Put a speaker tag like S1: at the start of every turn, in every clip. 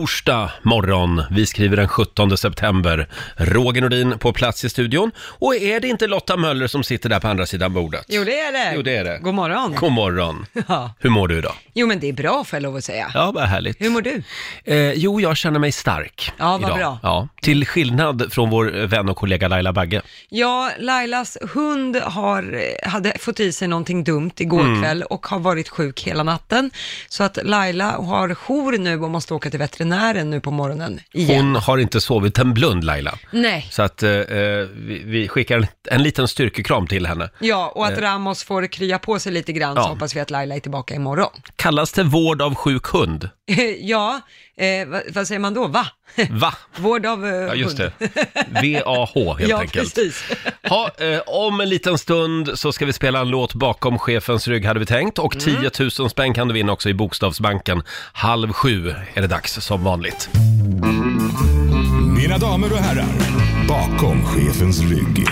S1: torsdag morgon. Vi skriver den 17 september. Roger Nordin på plats i studion. Och är det inte Lotta Möller som sitter där på andra sidan bordet?
S2: Jo, det är det.
S1: Jo, det är det.
S2: God morgon.
S1: God morgon.
S2: Ja.
S1: Hur mår du idag?
S2: Jo, men det är bra får jag lov att säga.
S1: Ja, vad härligt.
S2: Hur mår du?
S1: Eh, jo, jag känner mig stark
S2: Ja, vad
S1: idag.
S2: bra.
S1: Ja, till skillnad från vår eh, vän och kollega Laila Bagge.
S2: Ja, Lailas hund har, hade fått i sig någonting dumt igår
S1: Mm.
S2: kväll och har varit sjuk hela natten. Så att Laila har jour nu och måste åka till veterinären nu på morgonen igen.
S1: Hon har inte sovit en blund, Laila.
S2: Nej.
S1: Så att eh, eh, vi, vi skickar en, en liten styrkekram till henne.
S2: Ja, och att Ramos får krya på sig lite grann
S1: Eh. Ja.
S2: så hoppas vi att Laila är tillbaka imorgon.
S1: Kallas det vård av sjuk hund?
S2: ja, eh, vad, vad säger man då? Va?
S1: Va?
S2: Vård av eh,
S1: Ja, just det.
S2: hund.
S1: VAH helt
S2: ja,
S1: enkelt.
S2: precis.
S1: Ha, eh, om en liten stund så ska vi spela en låt bakom chefens rygg hade vi tänkt och
S2: Mm.
S1: 10 000 spänn kan du vinna också i Bokstavsbanken. Halv sju är det dags som vanligt.
S3: Mina damer och herrar, bakom chefens rygg.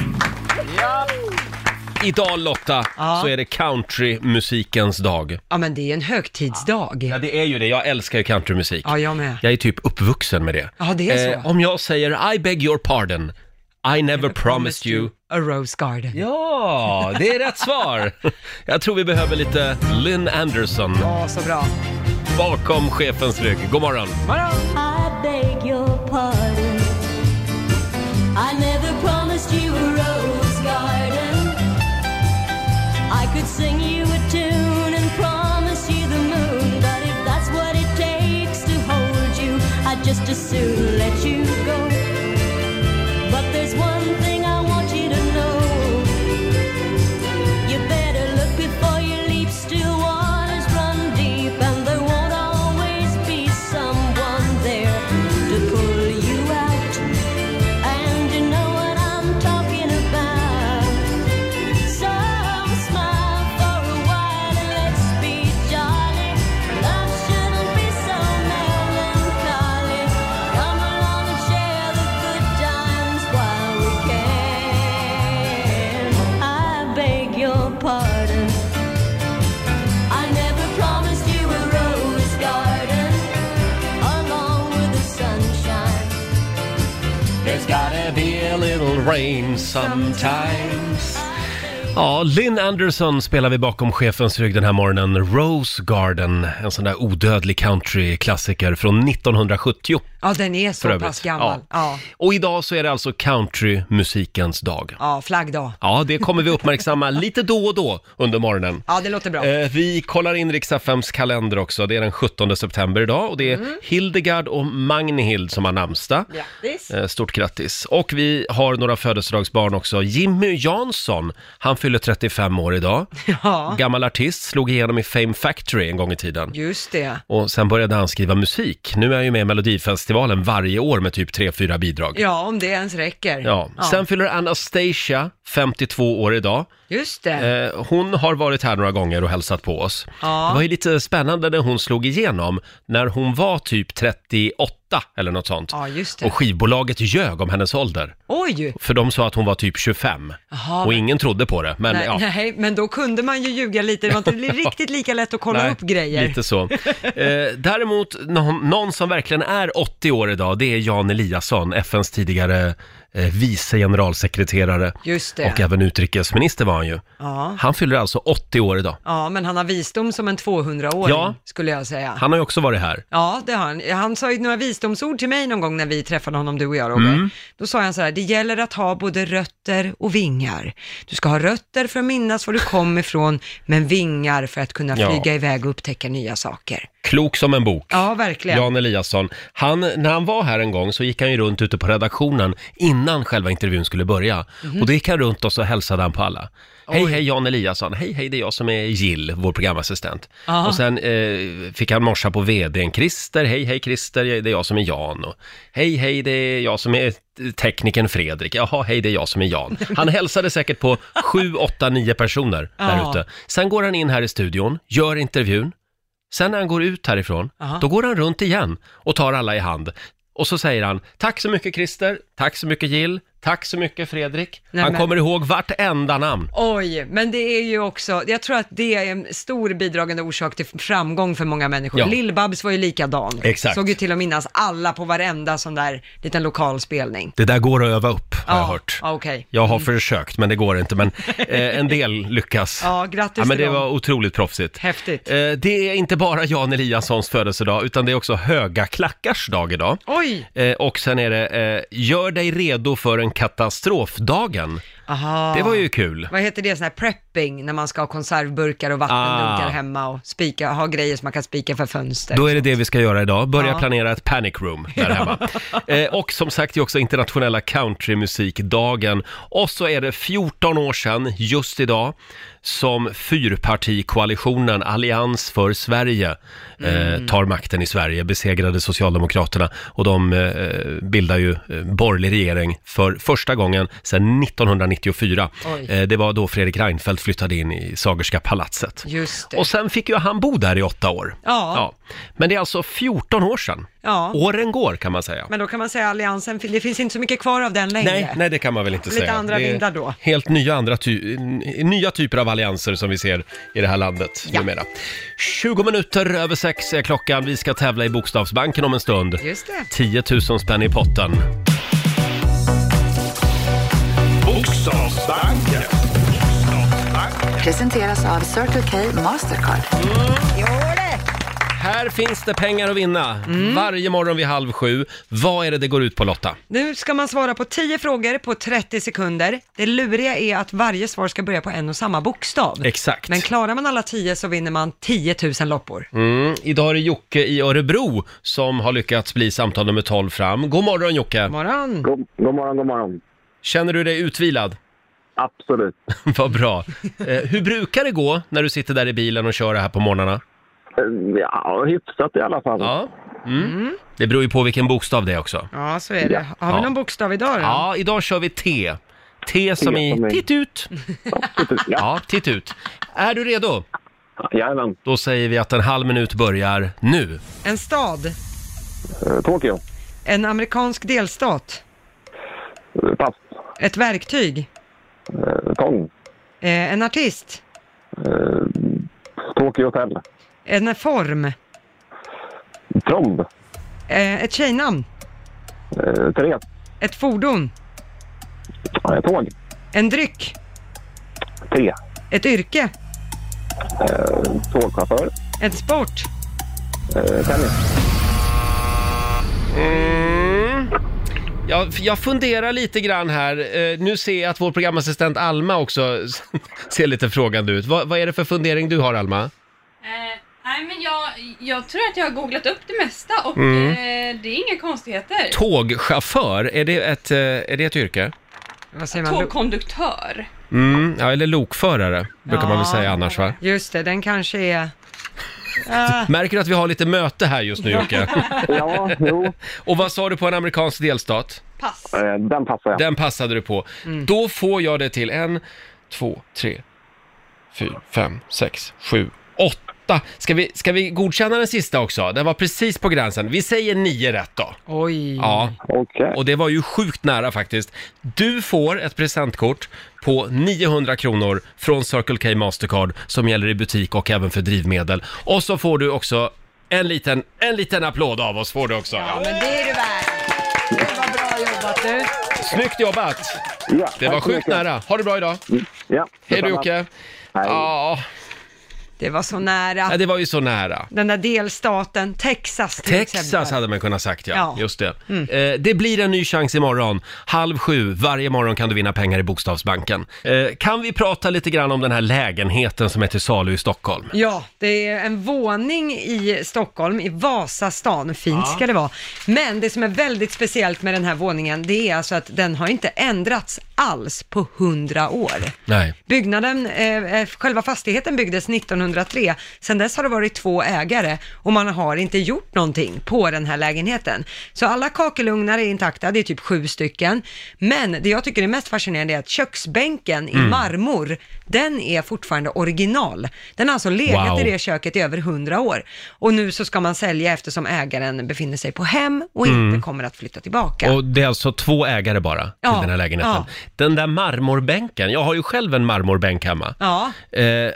S1: Idag Lotta
S2: Ja.
S1: så är det countrymusikens dag.
S2: Ja, men det är en högtidsdag.
S1: Ja det är ju det, jag älskar ju countrymusik.
S2: Ja, jag med.
S1: Jag är typ uppvuxen med det. Eh,
S2: Ja, det är så.
S1: om jag säger I beg your pardon, I never promised you.
S2: A Rose Garden.
S1: Ja, det är rätt svar! Jag tror vi behöver lite Lynn Anderson
S2: Ja, så bra.
S1: bakom chefens rygg. God morgon!
S4: I beg your pardon. I never promised you a rose garden. I could sing you a tune and promise you the moon, but if that's what it takes to hold you, I'd just as soon let you go. But there's one thing I want you to know. You better look before you leap. Still waters run deep, and there won't always be someone there to pull you out. And you know what I'm talking about. So smile for a while and let's be jolly. Love shouldn't be so melancholy. Come along and share the good times while we can. I beg your pardon. I never promised you a rose garden along with the sunshine.
S1: There's gotta be a little rain sometimes Ja, Lynn Anderson spelar vi bakom chefens rygg den här morgonen. Rose Garden, en sån där odödlig countryklassiker från 1970
S2: Ja, den är
S1: för
S2: så
S1: övrigt.
S2: pass gammal. Ja.
S1: Och idag så är det alltså countrymusikens dag.
S2: ja, flaggdag.
S1: Ja, det kommer vi uppmärksamma lite då och då under morgonen.
S2: Ja, det låter bra.
S1: Eh, vi kollar in riks kalender också. Det är den 17 september idag och det är
S2: Mm.
S1: Hildegard och Magnihild som har namnsdag.
S2: Grattis.
S1: Eh, Stort grattis. Och vi har några födelsedagsbarn också. Jimmy Jansson, han fyller 35 år idag.
S2: Ja,
S1: Gammal artist, slog igenom i Fame Factory en gång i tiden.
S2: just det.
S1: Och sen började han skriva musik. Nu är han ju med i Melodifestivalen varje år med typ 3-4 bidrag.
S2: Ja, om det ens räcker.
S1: Ja. Sen fyller Anastasia 52 år idag.
S2: Just det.
S1: Eh, hon har varit här några gånger och hälsat på oss.
S2: Ja.
S1: Det var ju lite spännande när hon slog igenom, när hon var typ 38 eller något sånt.
S2: Ja, just
S1: Och
S2: det.
S1: skivbolaget ljög om hennes ålder.
S2: Oj!
S1: För de sa att hon var typ 25.
S2: Jaha,
S1: och
S2: men-
S1: ingen trodde på det. Men
S2: Nej,
S1: ja.
S2: nej, men då kunde man ju ljuga lite. Det var inte riktigt lika lätt att kolla
S1: Nej,
S2: upp grejer.
S1: Lite så. Eh, däremot, någon, någon som verkligen är 80 år idag, det är Jan Eliasson, FNs tidigare eh, vice generalsekreterare.
S2: Just det.
S1: Och även utrikesminister var han ju.
S2: Ja.
S1: Han fyller alltså 80 år idag.
S2: Ja, men han har visdom som en 200-åring,
S1: Ja.
S2: skulle jag säga.
S1: Han har ju också varit här.
S2: Ja, det har han. Han sa ju några visdomsord till mig någon gång när vi träffade honom, du och jag Roger.
S1: Mm.
S2: Då sa han så här, det gäller att ha både rötter och vingar. Du ska ha rötter för att minnas var du kom ifrån, men vingar för att kunna
S1: Ja.
S2: flyga iväg och upptäcka nya saker.
S1: Klok som en bok.
S2: Ja, verkligen.
S1: Jan Eliasson. Han, när han var här en gång så gick han ju runt ute på redaktionen innan själva intervjun skulle börja.
S2: Mhm.
S1: Och då gick han runt och så hälsade han på alla. Hej, hej Jan Eliasson. Hej, hej, det är jag som är Jill, vår programassistent.
S2: Ja.
S1: Och sen eh, fick han morsa på vdn Christer. Hej, hej Christer, det är jag som är Jan. Och, hej, hej, det är jag som är teknikern Fredrik. Jaha, hej, det är jag som är Jan. Han hälsade säkert på sju, åtta, nio personer där
S2: Ja.
S1: ute. Sen går han in här i studion, gör intervjun. Sen när han går ut härifrån,
S2: Aha.
S1: då går han runt igen och tar alla i hand. Och så säger han, tack så mycket Christer, tack så mycket Jill, Tack så mycket Fredrik.
S2: Nej,
S1: Han
S2: men-
S1: kommer ihåg vartenda namn.
S2: Oj, men det är ju också, jag tror att det är en stor bidragande orsak till framgång för många människor.
S1: Ja.
S2: Lill-Babs var ju likadan.
S1: Exakt.
S2: Såg ju till att minnas alla på varenda sån där liten lokal spelning.
S1: Det där går att öva upp, har jag hört.
S2: Ja, okej.
S1: Jag har försökt, men det går inte. Men eh, en del lyckas.
S2: Ja, grattis
S1: ja, men
S2: till
S1: det
S2: dem.
S1: var otroligt proffsigt.
S2: Häftigt.
S1: Eh, det är inte bara Jan Eliassons födelsedag, utan det är också höga klackars dag idag.
S2: Oj!
S1: Eh, och sen är det eh, Gör dig redo för en katastrofdagen.
S2: Aha.
S1: Det var ju kul.
S2: Vad heter det, sån här prepping, när man ska ha konservburkar och vattendunkar
S1: Ah.
S2: hemma och spika, ha grejer som man kan spika för fönster.
S1: Då är det det vi ska göra idag, börja
S2: Ja.
S1: planera ett panic room där hemma. Eh, och som sagt, det är också internationella countrymusikdagen. Och så är det 14 år sedan, just idag, som fyrpartikoalitionen Allians för Sverige eh,
S2: Mm.
S1: tar makten i Sverige, besegrade Socialdemokraterna och de eh, bildar ju eh, borgerlig regering för första gången sedan 1994.
S2: Oj.
S1: Eh, det var då Fredrik Reinfeldt flyttade in i Sagerska palatset.
S2: Just det.
S1: Och sen fick ju han bo där i åtta år.
S2: Ja.
S1: Men det är alltså 14 år sedan.
S2: Ja.
S1: Åren går kan man säga.
S2: Men då kan man säga alliansen, det finns inte så mycket kvar av den längre.
S1: Nej, nej, det kan man väl inte
S2: Lite
S1: säga.
S2: andra
S1: det är
S2: vindar då.
S1: Helt nya, andra ty- n- nya typer av allianser som vi ser i det här landet
S2: Ja.
S1: numera. 20 minuter över sex är klockan. Vi ska tävla i Bokstavsbanken om en stund.
S2: Just det.
S1: 10 000 spänn i potten.
S3: Bokstavsbanken.
S5: Presenteras av Circle K Mastercard.
S1: Här finns det pengar att vinna.
S2: Mm.
S1: Varje morgon vid halv sju. Vad är det det går ut på Lotta?
S2: Nu ska man svara på 10 frågor på 30 sekunder. Det luriga är att varje svar ska börja på en och samma bokstav.
S1: Exakt.
S2: Men klarar man alla 10 så vinner man 10 000 loppor.
S1: Mm, idag är det Jocke i Örebro som har lyckats bli samtal nummer 12 fram. God morgon Jocke!
S2: Morgon!
S6: God, god morgon, god morgon.
S1: Känner du dig utvilad?
S6: Absolut.
S1: Vad bra! Eh, hur brukar det gå när du sitter där i bilen och kör här på morgnarna?
S6: Eh, Ja, hyfsat i alla fall.
S1: Ja. Mm. Det beror ju på vilken bokstav det är också.
S2: Ja, så är det. Har vi
S1: Ja.
S2: någon bokstav idag då?
S1: Ja, idag kör vi T. T som
S6: T som
S1: i
S6: i-
S1: titt ut!
S6: Absolut. Ja,
S1: Ja, titt ut. Är du redo?
S6: jajamän.
S1: Då säger vi att en halv minut börjar nu.
S2: En stad.
S6: Eh, Tokyo.
S2: En amerikansk delstat.
S6: Eh, Pass.
S2: Ett verktyg.
S6: Eh, Tång.
S2: Eh, en artist.
S6: Eh, Tokyo Hotel.
S2: En form.
S6: Tromb.
S2: Eh, ett tjejnamn.
S6: Eh, Therese.
S2: Ett fordon.
S6: Eh, Tåg.
S2: En dryck.
S6: T.
S2: Ett yrke.
S6: Tågchaufför.
S2: En sport.
S6: Eh, Tennis.
S1: Jag, jag funderar lite grann här. Eh, nu ser jag att vår programassistent Alma också ser lite frågande ut. Vad, vad är det för fundering du har, Alma?
S7: Eh, nej men jag, jag tror att jag har googlat upp det mesta och
S1: Mm.
S7: eh, det är inga konstigheter.
S1: Tågchaufför, är det ett, eh, är det ett yrke?
S2: Vad säger man?
S7: Tågkonduktör.
S1: Mm, ja, eller lokförare, brukar man väl säga annars, va?
S2: Just det, den kanske är... Ah,
S1: Märker du att vi har lite möte här just nu, Jocke?
S6: Ja, jo.
S1: Och vad sa du på en amerikansk delstat?
S7: Pass.
S6: Eh, Den passar jag.
S1: Den passade du på. Då får jag det till en, två, tre, fyra, fem, sex, sju, åtta. Ska vi, ska vi godkänna den sista också? Den var precis på gränsen. Vi säger nio rätt då.
S2: oj.
S1: Ja,
S6: Okej.
S1: och det var ju sjukt nära faktiskt. Du får ett presentkort på 900 kronor från Circle K Mastercard som gäller i butik och även för drivmedel. Och så får du också en liten, en liten applåd av oss får du också.
S2: Ja, men det är du värd. Det var bra jobbat du.
S1: Snyggt jobbat!
S6: Ja,
S1: Det
S6: tack
S1: var
S6: så
S1: sjukt
S6: mycket. Mm,
S1: nära. Ha det bra idag.
S6: Ja,
S1: Hej då
S6: detsamma.
S1: Jocke.
S6: Hej.
S1: Ja,
S2: Det var så
S1: ja,
S2: nära.
S1: det var ju så nära.
S2: Den där delstaten, Texas till
S1: Texas
S2: exempel.
S1: hade man kunnat sagt ja,
S2: Mm, Ja. Mm.
S1: just det. Eh, det blir en ny chans imorgon. Halv sju, varje morgon kan du vinna pengar i Bokstavsbanken. Eh, kan vi prata lite grann om den här lägenheten som är till salu i Stockholm?
S2: Ja, det är en våning i Stockholm, i Vasastan. Fint ska det vara. Men det som är väldigt speciellt med den här våningen, det är alltså att den har inte ändrats alls på 100 år.
S1: Nej.
S2: Byggnaden, eh, eh, själva fastigheten byggdes 2003. Sedan dess har det varit två ägare och man har inte gjort någonting på den här lägenheten. Så alla kakelugnar är intakta, det är typ sju stycken. Men det jag tycker är mest fascinerande är att köksbänken
S1: Mm.
S2: i marmor, den är fortfarande original. Den har alltså legat
S1: Wow.
S2: i det köket i över hundra år. Och nu så ska man sälja eftersom ägaren befinner sig på hem och inte kommer att flytta tillbaka.
S1: Mm. Och det är alltså två ägare bara till
S2: Ja,
S1: den här lägenheten.
S2: ja.
S1: Den där marmorbänken, jag har ju själv en marmorbänk hemma.
S2: Ja,
S1: Eh,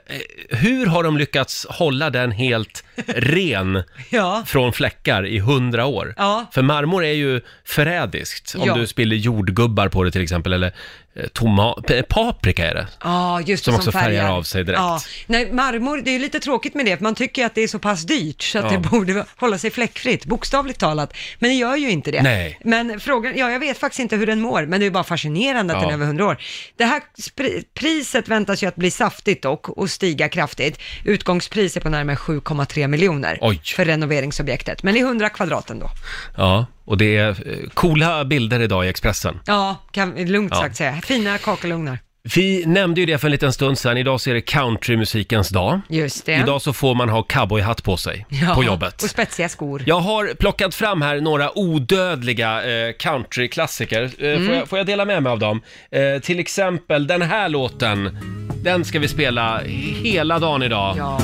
S1: hur har de lyckats hålla den helt ren
S2: ja.
S1: från fläckar i hundra år?
S2: Ja.
S1: För marmor är ju förrädiskt, om
S2: Ja.
S1: du spiller jordgubbar på det till exempel, eller eh, toma- p- paprika är det.
S2: Ja, just det,
S1: Som också färgar av sig direkt.
S2: Ja. Nej, marmor, det är ju lite tråkigt med det, för man tycker att det är så pass dyrt så att
S1: Ja.
S2: det borde hålla sig fläckfritt, bokstavligt talat. Men det gör ju inte det.
S1: Nej.
S2: Men frågan, ja jag vet faktiskt inte hur den mår, men det är bara fascinerande
S1: Ja.
S2: att den är över 100 år. Det här spri- priset väntas ju att bli saftigt dock och stiga kraftigt. Utgångspris är på närmare 7,3 miljoner
S1: Oj.
S2: för renoveringsobjektet, men det är 100 kvadraten då.
S1: Ja, och det är eh, coola bilder idag i Expressen.
S2: Ja, kan lugnt
S1: Ja.
S2: sagt säga. Fina kakelugnar.
S1: Vi nämnde ju det för en liten stund sedan, idag så är det countrymusikens dag.
S2: Just det.
S1: Idag så får man ha cowboyhatt på sig
S2: Ja,
S1: på jobbet.
S2: Och spetsiga skor.
S1: Jag har plockat fram här några odödliga eh, countryklassiker. Eh,
S2: Mm.
S1: får, jag, får jag dela med mig av dem? Eh, till exempel den här låten. Den ska vi spela hela dagen idag. Mm.
S2: Ja,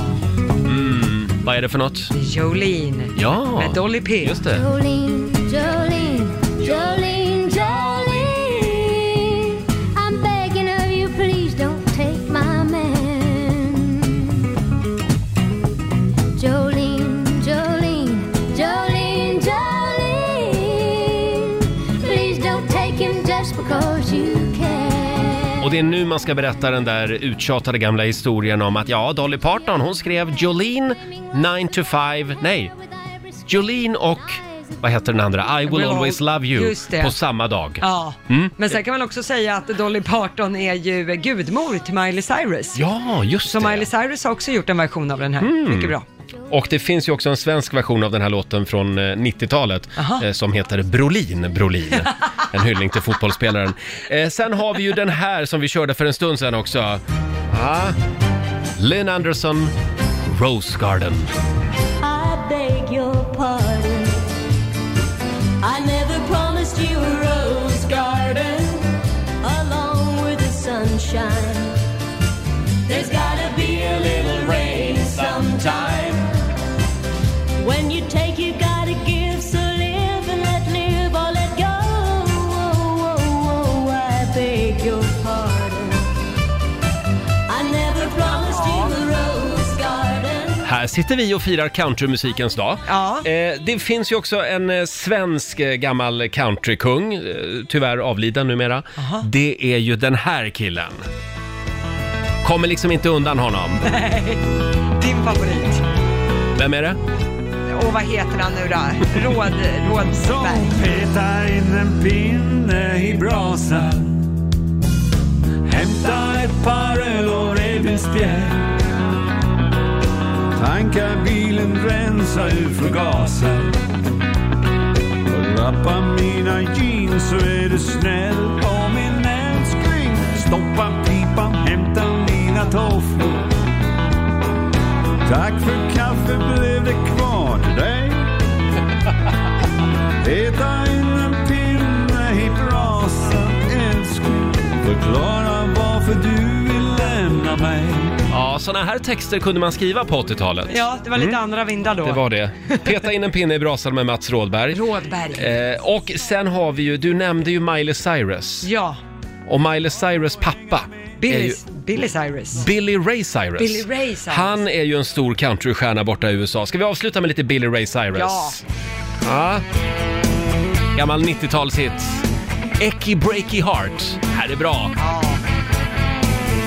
S1: Vad är det för något?
S2: Jolene.
S1: Ja,
S2: Med Dolly P.
S1: just det.
S8: Jolene, Jolene, Jolene, Jolene. I'm begging of you, please don't take my man. Jolene, Jolene, Jolene, Jolene. Please don't take him just because you can.
S1: Och det är nu man ska berätta den där uttjatade gamla historien om att ja, Dolly Parton hon skrev Jolene 9 to 5, nej, Jolene och vad heter den andra? I will always love you
S2: Just det.
S1: på samma dag.
S2: Ja,
S1: Mm.
S2: men sen kan man också säga att Dolly Parton är ju gudmor till Miley Cyrus.
S1: Ja, Mm. just
S2: Så Miley
S1: det.
S2: Cyrus har också gjort en version av den här. Mycket bra.
S1: Och det finns ju också en svensk version av den här låten från eh, 90-talet
S2: Aha.
S1: eh, som heter Brolin, Brolin. En hyllning till fotbollsspelaren. Eh, sen har vi ju den här som vi körde för en stund sedan också. Ah. Lynn Anderson, Rose Garden.
S8: I beg your pardon. I never promised you a rose garden along with the sunshine. There's gotta be a little rain sometime. When you take, you gotta give. So live and let live or let go. Oh, oh, oh, I beg your pardon. I never promised you a rose garden.
S1: Här sitter vi och firar countrymusikens dag.
S2: Ja.
S1: Eh, det finns ju också en eh, svensk eh, gammal countrykung, eh, tyvärr avliden numera. Det är ju den här killen. Kommer liksom inte undan honom.
S2: Din favorit.
S1: Vem är det?
S2: Och vad heter han nu då? Råd, Rådsberg.
S9: Peta in en pinne i brasan Hämta ett par öl och revbensspjäll Tanka bilen, rensa ur förgasaren Och Rappa mina jeans så är du snäll på min älskling Stoppa pipan, hämta mina tofflor Tack för kaffe blev det kvar till dig Peta in en pinne i brasan, älskling Förklara varför du vill lämna mig
S1: Ja, såna här texter kunde man skriva på 80-talet.
S2: Ja, det var lite andra vindar då.
S1: Mm. Det var det. Peta in en pinne i brasan med Mats Rådberg.
S2: Rådberg.
S1: Eh, och sen har vi ju, du nämnde ju Miley Cyrus.
S2: Ja,
S1: Och Miley Cyrus pappa är
S2: Billy,
S1: ju
S2: Billy Cyrus.
S1: Billy Ray Cyrus.
S2: Billy Ray Cyrus.
S1: Han är ju en stor countrystjärna borta i USA. Ska vi avsluta med lite Billy Ray Cyrus?
S2: Ja.
S1: Ja. Gammal 90-talshit. Ecky Breaky Heart. Här är bra.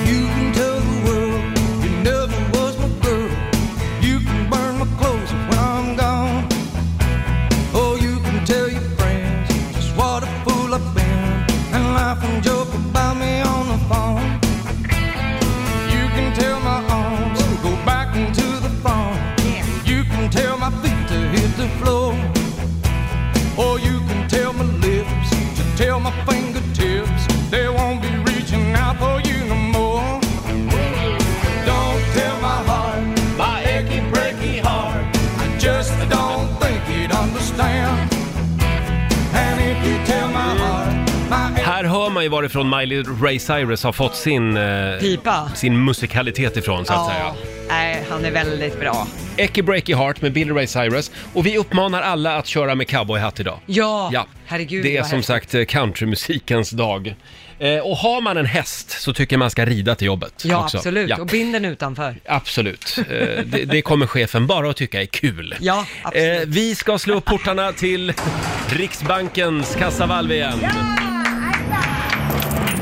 S9: You can tell the world you never was my girl You can burn my clothes when I'm gone Oh, you can tell your friends just what a fool I've been And laugh and joke about me on the phone You can tell my arms to go back into the phone You can tell my feet to hit the floor Or you can tell my lips to tell my fingertips They won't be reaching
S1: hör man ju varifrån Miley Ray Cyrus har fått sin, eh,
S2: Pipa.
S1: sin musikalitet ifrån så att säga.
S2: Ja, nej, han är väldigt bra.
S1: Ecky Breaky Heart med Billy Ray Cyrus. Och vi uppmanar alla att köra med cowboyhatt idag.
S2: Ja,
S1: Ja,
S2: herregud
S1: det är
S2: vad
S1: som
S2: häftigt.
S1: sagt eh, countrymusikens dag. Eh, och har man en häst så tycker jag man ska rida till jobbet
S2: Ja,
S1: också.
S2: absolut.
S1: Ja,
S2: Och binden utanför.
S1: absolut. Eh, det, det kommer chefen bara att tycka är kul. Eh,
S2: Ja, absolut.
S1: vi ska slå upp portarna till Riksbankens kassavalv igen.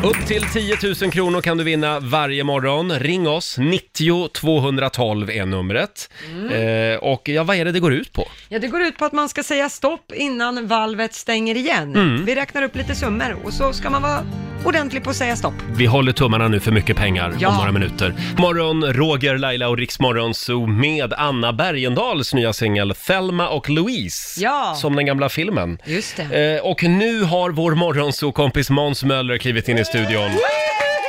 S1: Upp till 10 000 kronor kan du vinna varje morgon. Ring oss, 90 212 är numret.
S2: Mm.
S1: Eh, och ja, vad är det det går ut på?
S2: Ja, det går ut på att man ska säga stopp innan valvet stänger igen.
S1: Mm.
S2: Vi räknar upp lite summor och så ska man vara ordentlig på att säga stopp.
S1: Vi håller tummarna nu för mycket pengar
S2: Ja.
S1: om några minuter. Morgon, Roger, Laila och Riksmorgon Zoo med Anna Bergendahls nya singel Thelma och Louise.
S2: Ja.
S1: Som den gamla filmen.
S2: Just det.
S1: Eh, och nu har vår morgonsokompis Måns Möller klivit in i studion.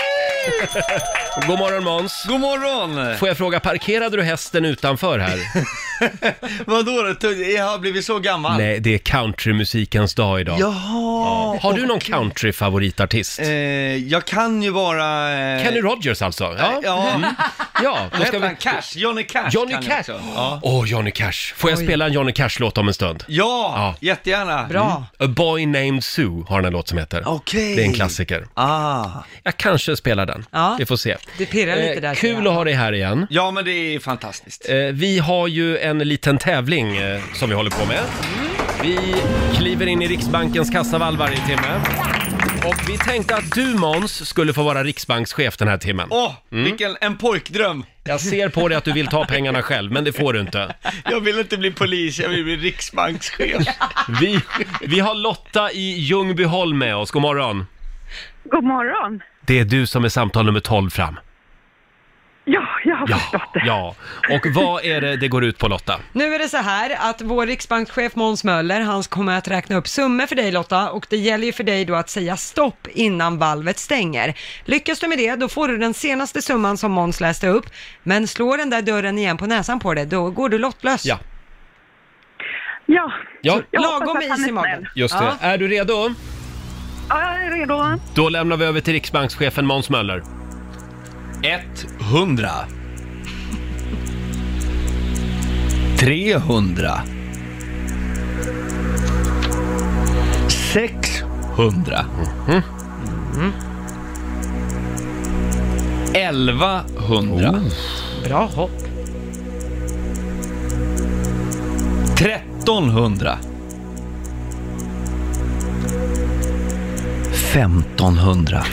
S1: God morgon Måns!
S9: God morgon!
S1: Får jag fråga, parkerade du hästen utanför här?
S9: Vadå då? Jag har blivit så gammal.
S1: Nej, det är countrymusikens dag idag.
S9: Jaha!
S1: Har du någon countryfavoritartist?
S9: Eh, jag kan ju bara... Eh...
S1: Kenny Rogers alltså? Ja,
S9: Ja. ja.
S1: ja
S9: Vad heter han? Cash? Johnny Cash
S1: Johnny
S9: kan jag
S1: Cash!
S9: också.
S1: Åh,
S9: Ja.
S1: Johnny Cash! Får jag spela en Johnny Cash-låt om en stund?
S9: Ja,
S1: Ja.
S9: jättegärna.
S2: Bra.
S1: A Boy Named Sue har den här låt som heter.
S9: Okej.
S1: Det är en klassiker.
S9: Ah.
S1: Jag kanske spelar den.
S2: Ja.
S1: Vi får se.
S2: Det pirrar lite
S1: Eh,
S2: där. ser
S1: Kul
S2: jag.
S1: att ha dig här igen.
S9: Ja, men det är fantastiskt.
S1: Eh, Vi har ju en liten tävling eh, som vi håller på med. Vi kliver in i Riksbankens kassavalv varje timme. Och vi tänkte att du Måns skulle få vara riksbankschef den här timmen.
S9: Åh,
S1: Mm.
S9: vilken en pojkdröm!
S1: Jag ser på dig att du vill ta pengarna själv, men det får du inte.
S9: Jag vill inte bli polis, jag vill bli riksbankschef.
S1: Vi, vi har Lotta i Ljungbyholm med oss, god morgon.
S10: God morgon.
S1: Det är du som är samtal nummer 12 fram.
S10: Ja, jag har förstått det.
S1: ja. Och vad är det det går ut på Lotta?
S2: Nu är det så här att vår riksbankschef Måns Möller, han kommer att räkna upp summor för dig Lotta och det gäller ju för dig då att säga stopp innan valvet stänger. Lyckas du med det, då får du den senaste summan som Måns läste upp, men slår den där dörren igen på näsan på dig, då går du lottlös.
S1: Ja,
S10: Ja.
S1: ja
S10: Jag hoppas
S2: Lagom
S10: att han
S2: is
S10: är
S2: i magen.
S10: snäll.
S1: just det. Är du redo?
S10: Ja, jag är redo.
S1: Då lämnar vi över till riksbankschefen Måns Möller.
S9: 100 300 600 1100
S2: Bra hopp.
S9: 1300 1500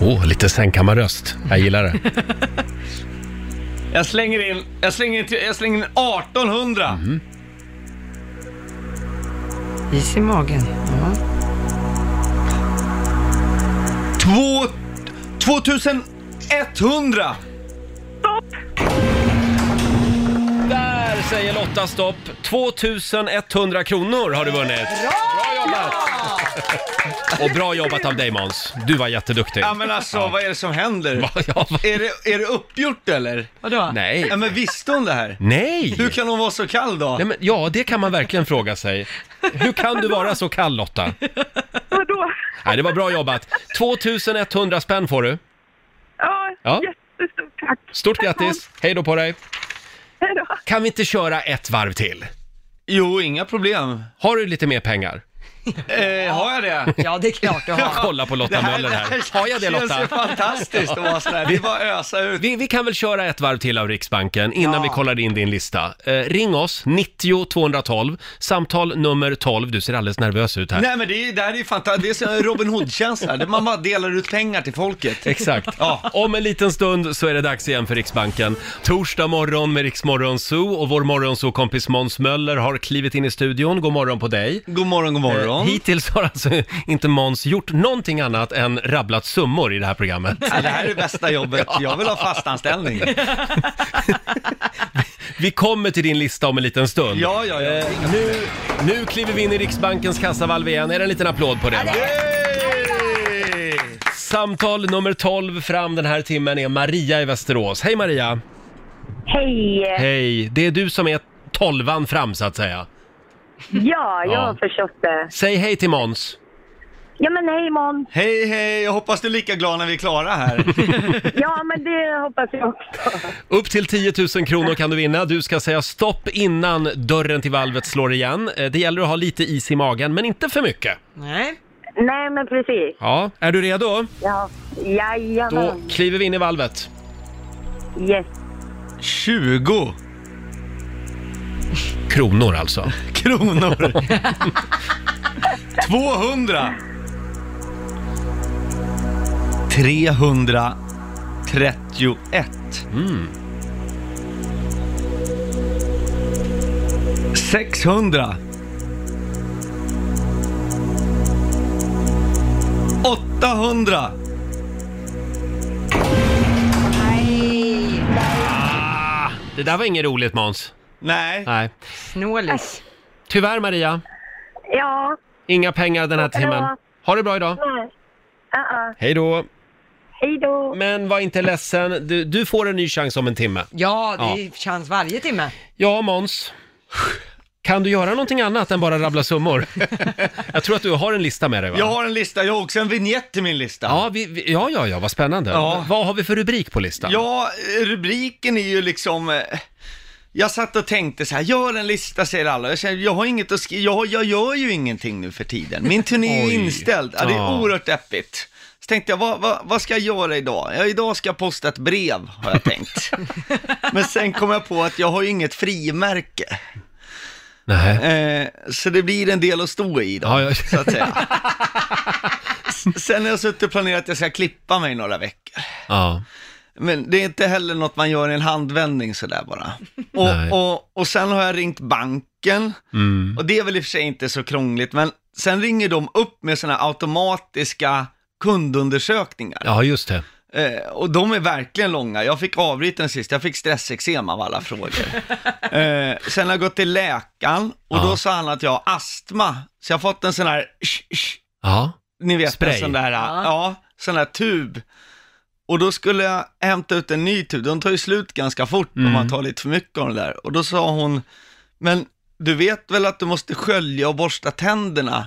S1: Åh, oh, lite sängkammarröst. Jag gillar det.
S9: Jag slänger in, jag slänger in, jag slänger in 1800
S2: Is i magen. Ja.
S9: Två, 2100!
S1: Där säger Lotta stopp. 2100 kronor har du vunnit. Bra jobbat! Och bra jobbat av dig Måns. Du var jätteduktig.
S9: Ja men alltså vad är det som händer?
S1: Va? Ja, va?
S9: Är det, är det uppgjort eller?
S2: Vadå?
S1: Nej.
S9: Ja, men visste hon det här?
S1: Nej!
S9: Hur kan hon vara så kall då?
S1: Nej men, ja, det kan man verkligen fråga sig. Hur kan du vara så kall Lotta?
S10: Vadå?
S1: Nej, det var bra jobbat. 2100 spänn får du.
S10: Ja,
S1: Ja.
S10: jättestort tack.
S1: Stort grattis! Hej då på dig!
S10: Hej då.
S1: Kan vi inte köra ett varv till?
S9: Jo, inga problem.
S1: Har du lite mer pengar?
S9: Eh, har jag det?
S2: Ja, det är klart du har.
S1: Kolla på Lotta Möller här. Har jag det
S9: känns ju
S1: Lotta?
S9: fantastiskt att vara sådär. Vi bara ösa ut.
S1: Vi, vi kan väl köra ett varv till av Riksbanken innan
S2: Ja.
S1: vi kollar in din lista. Eh, ring oss, 90 212, samtal nummer 12. Du ser alldeles nervös ut här.
S9: Nej men det, är, det här är ju fantastiskt. Det är som en Robin Hood-känsla. där Man bara delar ut pengar till folket.
S1: Exakt.
S9: Ja.
S1: Om en liten stund så är det dags igen för Riksbanken. Torsdag morgon med Riksmorgon Zoo och vår morgonzoo-kompis Måns Möller har klivit in i studion. God morgon på dig.
S9: God morgon, god morgon.
S1: Eh, Hittills har alltså inte Måns gjort någonting annat än rabblat summor i det här programmet.
S9: Ja, det här är det bästa jobbet. Jag vill ha fast anställning.
S1: Vi kommer till din lista om en liten stund.
S9: Ja, ja, ja.
S1: Eh, nu, nu kliver vi in i Riksbankens kassavalv igen. Är det en liten applåd på det? Samtal nummer 12 fram den här timmen är Maria i Västerås. Hej Maria!
S10: Hej.
S1: Hej! Det är du som är tolvan fram så att säga.
S10: Ja, jag
S1: Ja.
S10: har förstått det.
S1: Säg hej till Måns.
S10: Ja men hej Måns.
S9: Hej, hej! Jag hoppas du är lika glad när vi är klara här.
S10: Ja men det hoppas jag också.
S1: Upp till 10 000 kronor kan du vinna. Du ska säga stopp innan dörren till valvet slår igen. Eh, Det gäller att ha lite is i magen, men inte för mycket.
S2: Nej.
S10: Nej men precis.
S1: Ja, är du redo?
S10: Ja.
S1: Då
S10: Jajamän.
S1: kliver vi in i valvet.
S10: Yes.
S9: 20
S1: Kronor alltså.
S9: kronor. 200. 331.
S1: Mm.
S9: 600. 800.
S1: Det där var inget roligt Måns.
S9: Nej.
S1: Nej.
S2: Snålis.
S1: Tyvärr Maria,
S10: Ja.
S1: inga pengar den här timmen. Ha det bra idag.
S10: Nej. Uh-uh.
S1: Hej då.
S10: Hej då.
S1: Men var inte ledsen, du, du får en ny chans om en timme.
S2: Ja, det är chans varje timme.
S1: Ja, Måns. Kan du göra någonting annat än bara rabbla summor? Jag tror att du har en lista med dig va?
S9: Jag har en lista, jag har också en vignett till min lista.
S1: Ja, vi, vi, ja, ja, ja, vad spännande.
S9: Ja.
S1: Vad har vi för rubrik på listan?
S9: Ja, rubriken är ju liksom... eh, Jag satt och tänkte så här, gör en lista säger alla. Jag, känner, jag har inget att skriva, jag, jag gör ju ingenting nu för tiden. Min turné är
S1: Oj.
S9: inställd, ja, det
S1: Ja.
S9: är oerhört deppigt. Så tänkte jag, vad, vad, vad ska jag göra idag? Ja, idag ska jag posta ett brev, har jag tänkt. Men sen kom jag på att jag har ju inget frimärke.
S1: Nej.
S9: Eh, så det blir en del att stå i då,
S1: Ja, ja.
S9: så att säga. S- Sen har jag suttit och planerat att jag ska klippa mig några veckor.
S1: Ja.
S9: Men det är inte heller något man gör i en handvändning sådär bara.
S1: Nej.
S9: Och, och, och sen har jag ringt banken,
S1: Mm.
S9: och det är väl i och för sig inte så krångligt, men sen ringer de upp med sådana automatiska kundundersökningar.
S1: ja, just det.
S9: Eh, och de är verkligen långa. Jag fick avbryta den sist, jag fick stressexem av alla frågor. eh, sen har jag gått till läkaren, och
S1: Ja.
S9: då sa han att jag har astma, så jag har fått en sån här
S1: Ja.
S9: ni vet
S1: Spray.
S9: en sån där,
S2: Ja.
S9: ja. sån där tub. Och då skulle jag hämta ut en ny tub, de tar ju slut ganska fort om
S1: Mm.
S9: man tar lite för mycket av den där. Och då sa hon, men du vet väl att du måste skölja och borsta tänderna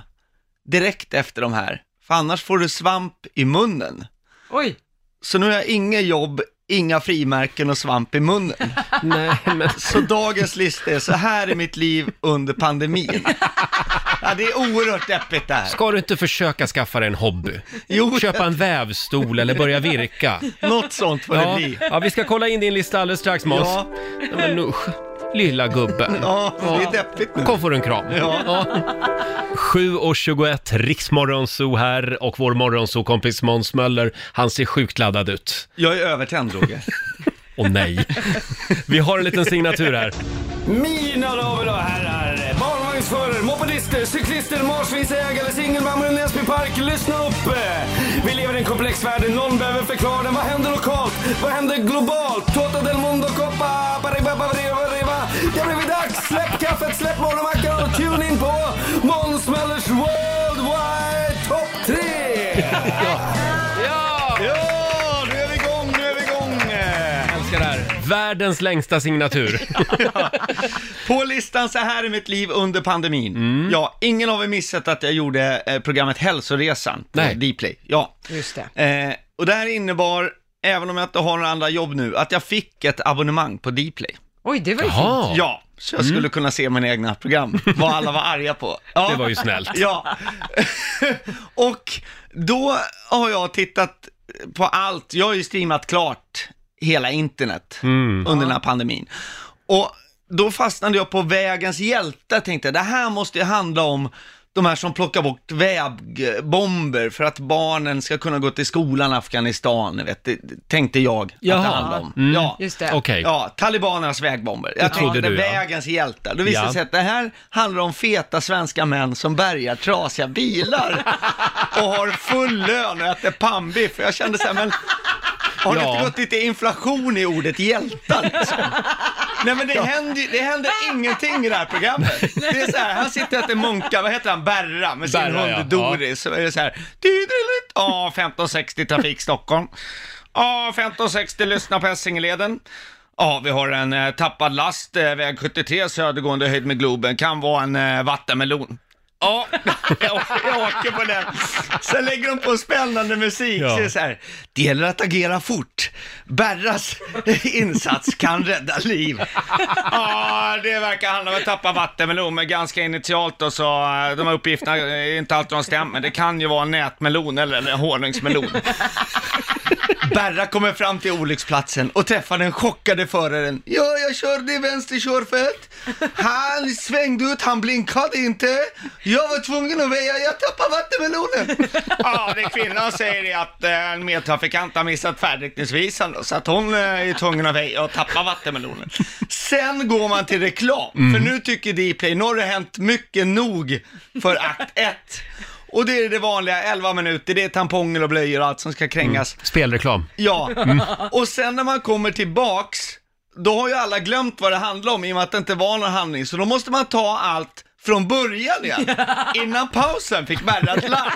S9: direkt efter de här, för annars får du svamp i munnen.
S2: Oj.
S9: Så nu har jag inga jobb, inga frimärken och svamp i munnen.
S1: Nej, men...
S9: Så dagens lista är, så här är mitt liv under pandemin. Ja, det är oerhört deppigt det här.
S1: Ska du inte försöka skaffa dig en hobby?
S9: Jo,
S1: Köpa en vävstol eller börja virka?
S9: något sånt får det
S1: Ja.
S9: bli.
S1: ja, vi ska kolla in din lista alldeles strax Måns.
S9: Ja.
S1: Ja, men usch, lilla gubben.
S9: Ja, det är deppigt nu.
S1: Kom får du en kram.
S9: Ja.
S1: 7.21, Riksmorgonzoo här och vår morgonzoo-kompis Måns Möller, han ser sjukt laddad ut.
S9: Jag är övertänd Roger.
S1: Och nej. Vi har en liten signatur här.
S11: Mina damer och herrar, barnvagnsförare, mopedister, cyklister, marsvinsägare, singelmammor i Näsby Park. Lyssna upp! Vi lever i en komplex värld, någon behöver förklara den. Vad händer lokalt? Vad händer globalt? Toto del mundo coppa, bariba, bariba, bariba. Det har blivit dags! Släpp kaffet, släpp morgonmackan och tune in på Måns Möllers Worldwide Top 3!
S1: Ja!
S9: Ja, nu är vi igång, nu är vi igång!
S1: Älskar det här. Världens längsta signatur.
S9: På listan Så här är mitt liv under pandemin. Ja, ingen har väl missat att jag gjorde eh, programmet Hälsoresan på
S1: Nej.
S9: Dplay. Ja.
S2: Just det.
S9: Eh, och det här innebar, även om jag inte har några andra jobb nu, att jag fick ett abonnemang på Dplay.
S2: Oj, det var ju fint.
S1: Jaha,
S9: Ja, så jag skulle kunna se mina egna program, vad alla var arga på. Ja.
S1: det var ju snällt.
S9: Ja. och då har jag tittat på allt. Jag har ju streamat klart hela internet under den här pandemin. Och då fastnade jag på Vägens hjälte. Tänkte det här måste ju handla om de här som plockar bort vägbomber för att barnen ska kunna gå till skolan i Afghanistan. ni Vet, det, det tänkte jag
S1: Jaha.
S9: att det handlade om.
S1: Mm.
S9: Ja.
S2: Just det.
S1: Okej.
S9: Ja, talibanernas vägbomber. Jag
S1: trodde
S9: tänkte
S1: du, ja.
S9: vägens hjältar. Då visade det
S1: Ja.
S9: sig att det här handlar om feta svenska män som bärgar trasiga bilar och har full lön och äter pannbiff. Och Jag kände så här, men har det
S1: Ja.
S9: inte gått lite inflation i ordet hjältar liksom? Nej men det händer, ju- det händer
S1: Ah!
S9: ingenting i det här programmet. Det är så här, han sitter och äter munka, vad heter han, Berra med sin
S1: Berra, ja.
S9: hund Doris. Så är det så här, "Didelit." ja 1560 Trafik Stockholm. Ja 1560 lyssna på Essingeleden. Ja, vi har en eh, tappad last, eh, väg 73 södergående höjd med Globen, kan vara en eh, vattenmelon. Ja, jag, jag åker på den. Sen lägger de på spännande musik.
S8: Ja.
S9: Så det, är så här, det gäller att agera fort. Berras insats kan rädda liv. Ja, det verkar handla om att tappa vattenmelon ganska initialt och så eh, de här uppgifterna är inte alltid de stämmer. Det kan ju vara en nätmelon eller en honungsmelon. Berra kommer fram till olycksplatsen och träffar den chockade föraren. Ja, jag körde i vänster körfält. Han svängde ut, han blinkade inte. Jag var tvungen att väja, jag tappade vattenmelonen. Ja, det kvinnan säger är att eh, en medtrafikant har missat färdriktningsvisaren så att hon eh, är tvungen att väja och tappa vattenmelonen. Sen går man till reklam,
S8: Mm.
S9: för nu tycker Dplay, nu har det hänt mycket nog för akt 1. Och det är det vanliga, 11 minuter, det är tamponger och blöjor och allt som ska krängas.
S1: Spelreklam.
S9: Ja,
S1: Mm.
S9: och sen när man kommer tillbaks, då har ju alla glömt vad det handlar om i och med att det inte var någon handling, så då måste man ta allt från början igen. Innan pausen fick Berra ett larm.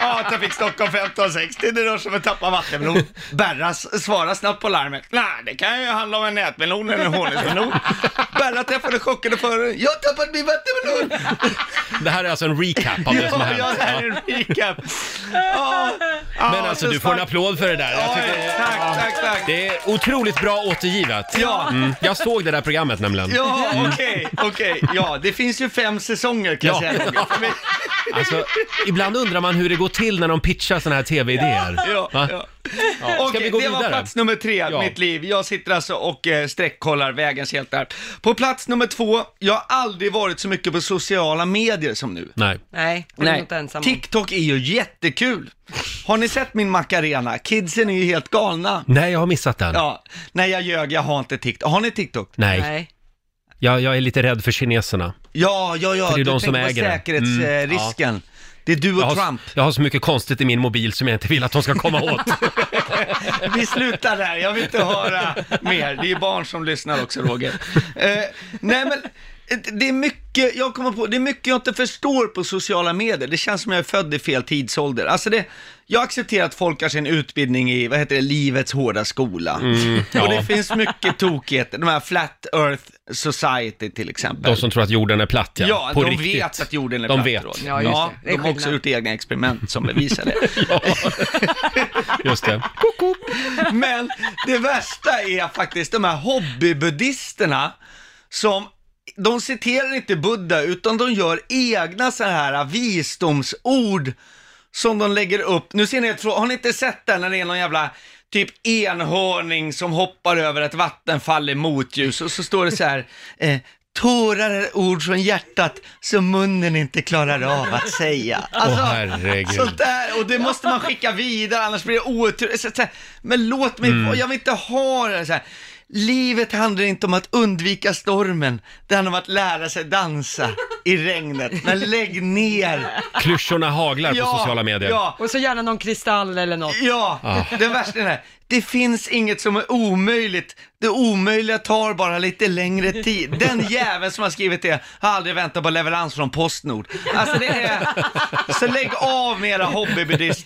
S9: Ja, Trafik Stockholm 1560, det rör sig om att tappa vattenmelon. Berra s- svarar snabbt på larmet. Nej, det kan ju handla om en nätmelon eller en honungsmelon. Berra träffade chockade föraren. Jag har tappat min vattenmelon!
S1: Det här är alltså en recap av det som har
S9: Ja,
S1: hänt.
S9: ja, det här är en recap. Ja, ja,
S1: Men alltså du får en applåd för det där. Jag tycker,
S9: tack, tack, tack.
S1: det är otroligt bra återgivet.
S9: Ja.
S1: Mm. Jag såg det där programmet nämligen.
S9: Ja,
S1: Mm.
S9: okej, okej. Ja, det finns ju fem säsonger kan
S1: Ja.
S9: jag säga. Roger. Men-
S1: Alltså, ibland undrar man hur det går till när de pitchar såna här tv-idéer.
S9: Ja,
S1: Va?
S9: ja.
S1: Ska
S9: Okej,
S1: vi gå
S9: det var
S1: vidare?
S9: plats nummer tre,
S1: Ja.
S9: mitt liv. Jag sitter alltså och eh, streckkollar Vägens hjältar. På plats nummer två, jag har aldrig varit så mycket på sociala medier som nu.
S1: Nej.
S2: Nej, det är
S9: Nej,
S2: inte ensam om.
S9: TikTok är ju jättekul. Har ni sett min Macarena? Kidsen är ju helt galna.
S1: Nej, jag har missat den.
S9: Ja, nej jag ljög, jag har inte TikTok. Har ni TikTok?
S1: Nej. Jag, jag är lite rädd för kineserna.
S9: Ja, ja, ja,
S1: För det är
S9: du
S1: de som
S9: tänker på
S1: äger det. Mm,
S9: säkerhetsrisken. Det är du och
S1: Jag har,
S9: Trump.
S1: jag har så mycket konstigt i min mobil som jag inte vill att de ska komma åt.
S9: Vi slutar där, jag vill inte höra mer. Det är barn som lyssnar också, Roger. Eh, nej, men eh, det är mycket, jag kommer på, det är mycket jag inte förstår på sociala medier. Det känns som jag är född i fel tidsålder. Alltså det, jag accepterar att folk har sin utbildning i, vad heter det, livets hårda skola.
S1: Mm, ja.
S9: Och det finns mycket tokigheter, de här Flat Earth Society till exempel.
S1: De som tror att jorden är platt, ja.
S9: Ja,
S1: På
S9: de
S1: riktigt.
S9: vet att jorden är
S1: de
S9: platt.
S1: vet.
S9: Roger.
S1: Ja,
S9: Ja,
S1: just det. Det är
S9: de har också
S1: skillnad.
S9: gjort egna experiment som bevisar det.
S1: Just det.
S9: Men det värsta är faktiskt de här hobbybuddhisterna som de citerar inte Buddha utan de gör egna så här visdomsord som de lägger upp. Nu ser ni, ett frå- har ni inte sett den när det är någon jävla typ enhörning som hoppar över ett vattenfall i motljus och så står det så här eh, Tårar är ord från hjärtat som munnen inte klarar av att säga. Alltså,
S8: Åh, herregud.
S9: sånt där, och det måste man skicka vidare annars blir det otur. Så- så- Men låt mig,
S8: Mm.
S9: jag vill inte ha det så här. Livet handlar inte om att undvika stormen, det handlar om att lära sig dansa i regnet. Men lägg ner!
S1: Klyschorna haglar på sociala medier.
S9: Ja,
S2: Och så gärna någon kristall eller något.
S9: ja.
S1: Ah.
S9: det värsta är det här. Det finns inget som är omöjligt. Det omöjliga tar bara lite längre tid. Den jäveln som har skrivit det har aldrig väntat på leverans från Postnord. Alltså det är... Så lägg av med era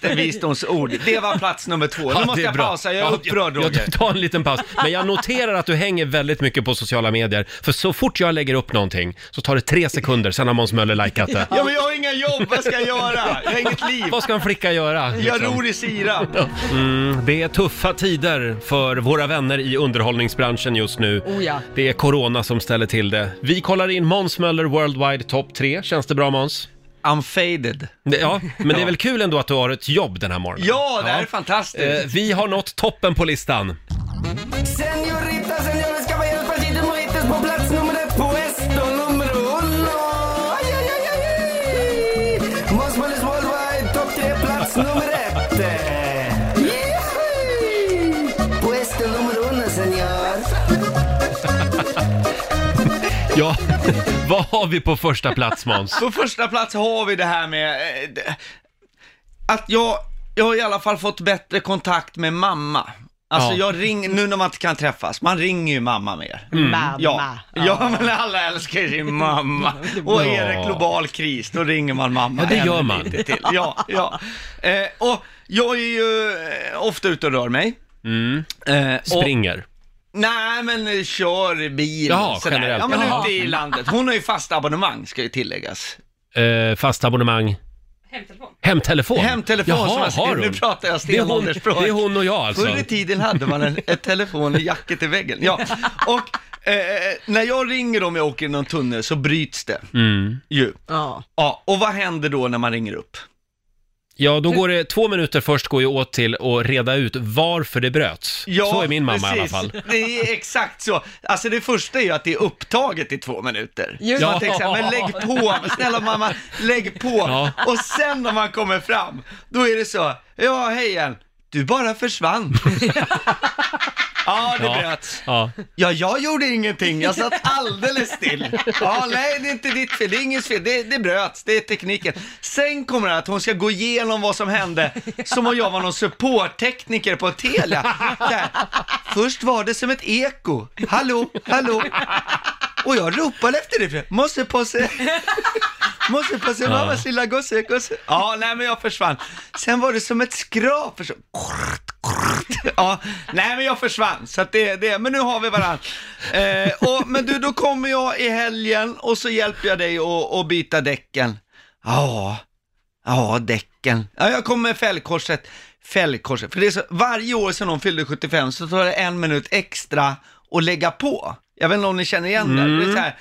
S9: hobbybuddhister-visdomsord. Det var plats nummer två.
S1: Ja,
S9: nu
S1: det
S9: måste
S1: är
S9: jag
S1: bra.
S9: pausa, jag är
S1: Ja,
S9: upprörd
S1: jag,
S9: Roger.
S1: jag tar en liten paus. Men jag noterar att du hänger väldigt mycket på sociala medier. För så fort jag lägger upp någonting så tar det tre sekunder, sen har Måns Möller likat det.
S9: Ja men jag har inga jobb, vad ska jag göra? Jag har inget liv.
S1: Vad ska en flicka göra?
S9: Jag
S1: liksom?
S9: ror i sirap.
S1: Mm, det är tuffa tider för våra vänner i underhållningsbranschen just nu.
S2: Oh ja.
S1: Det är corona som ställer till det. Vi kollar in Måns Möller Worldwide Top 3. Känns det bra Måns?
S9: I'm faded.
S1: Ja, men det är väl kul ändå att du har ett jobb den här morgonen?
S9: Ja, det här är fantastiskt.
S1: Eh, Vi har nått toppen på listan.
S8: Señorita, señores, caballeros, pasitos, mojitos, på plats nummer ett, puesto numero uno. Ay, ay, ay, ay, ay. Måns Möllers Worldwide, topp tre, plats nummer ett. Yippee! Puesto numero uno, señor.
S1: Ja, vad har vi på första plats Måns?
S9: På första plats har vi det här med eh, d- att jag, jag har i alla fall fått bättre kontakt med mamma. Alltså
S8: Ja.
S9: jag ringer, nu när man inte kan träffas, man ringer ju mamma mer.
S8: Mm. Mamma.
S9: Ja, ja men alla älskar ju sin mamma. Och är det global kris, då ringer man mamma.
S8: Ja, det gör
S9: henne
S8: man.
S9: lite Till. Ja, ja. Eh, och jag är ju eh, ofta ute och rör mig.
S1: Mm.
S9: Eh, och-
S1: Springer.
S9: Nej, men eh, kör i bil
S1: Jaha,
S9: och sådär.
S1: generellt.
S9: Ja, men
S1: Jaha.
S9: ute i landet. Hon har ju fast abonnemang, ska ju tilläggas.
S1: eh, fast abonnemang? Hemtelefon. Hemtelefon?
S9: Hemtelefon som
S1: Jaha,
S9: jag skrev.
S1: har hon?
S9: Nu pratar jag
S1: det är, hon,
S9: stenåldersspråk.
S1: det är hon och jag alltså.
S9: Förr i tiden hade man en ett telefon i jacket i väggen. Ja. Och eh, när jag ringer om jag åker i någon tunnel så bryts det
S1: Mm.
S9: ju.
S2: Ja.
S9: ja. Och vad händer då när man ringer upp?
S1: Ja, då går det två minuter först går ju åt till att reda ut varför det bröts. så är min mamma i alla
S9: precis.
S1: fall.
S9: Det är exakt så. Alltså det första är ju att det är upptaget i två minuter.
S1: Just
S9: ja.
S1: det.
S9: Man tänker så här, men lägg på, snälla mamma, lägg på.
S1: Ja.
S9: Och sen när man kommer fram, då är det så, ja hej igen, du bara försvann. ja, det
S1: Ja.
S9: bröts.
S1: Ja.
S9: Ja, jag gjorde ingenting, jag satt alldeles still. Ja, nej, det är inte ditt fel, det är ingens fel, det, det bröts, det är tekniken. Sen kommer det att hon ska gå igenom vad som hände, som om jag var någon supporttekniker på Telia. Där. Först var det som ett eko, hallå, hallå. Och jag ropade efter det, måste passa, måste passa
S8: Ja.
S9: mammas lilla gosse, gosse. Ja, nej men jag försvann. Sen var det som ett skrap, försvann. Ja, nej men jag försvann, så att det är det. Men nu har vi varandra. Eh, och, men du, då kommer jag i helgen och så hjälper jag dig att att byta däcken. Ja, ja däcken. Ja, jag kommer med fällkorset. Fällkorset, för det är så, varje år sedan de fyllde 75 så tar det en minut extra att lägga på. Jag vet inte om ni känner igen det. Det är
S8: Mm.
S9: så här,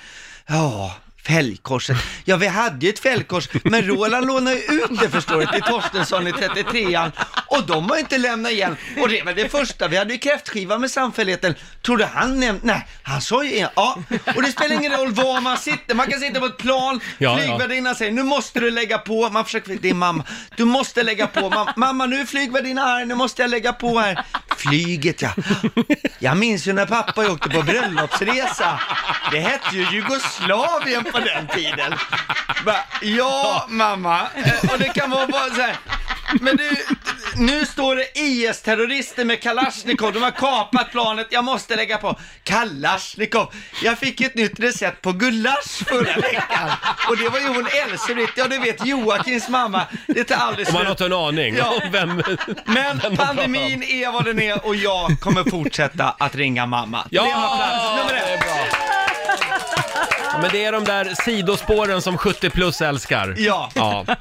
S9: ja. Fällkorset. Ja, vi hade ju ett fällkors, men Roland lånade ju ut det förstår du till Torstensson i 33an och de har ju inte lämnat igen. Och det var det första, vi hade ju kräftskiva med samfälligheten. Tror du han nämnde, nej, han sa ju en, ja. Och det spelar ingen roll var man sitter, man kan sitta på ett plan,
S8: Ja, ja.
S9: flygvärdinnan säger nu måste du lägga på, man försöker, det är mamma, du måste lägga på, mamma, mamma nu är flygvärdinnan här, nu måste jag lägga på här. Flyget ja. Jag minns ju när pappa åkte på bröllopsresa. Det hette ju Jugoslavien på den tiden. Bara, ja, mamma. Eh, Och det kan vara bara så här. Men du, nu står det IS-terrorister med Kalashnikov. De har kapat planet. Jag måste lägga på. Kalashnikov. Jag fick ett nytt recept på gulasch förra veckan. Och det var ju hon Elsebritt, ja du vet Joakims mamma. Det tar aldrig
S1: Om man
S9: slut.
S1: har inte en aning
S9: Ja.
S1: om vem...
S9: Men
S1: vem de pratar om.
S9: pandemin är vad den är och jag kommer fortsätta att ringa mamma.
S1: Ja!
S9: Det var plats nummer ett.
S1: Ja, men det är de där sidospåren som 70 plus älskar.
S9: Ja,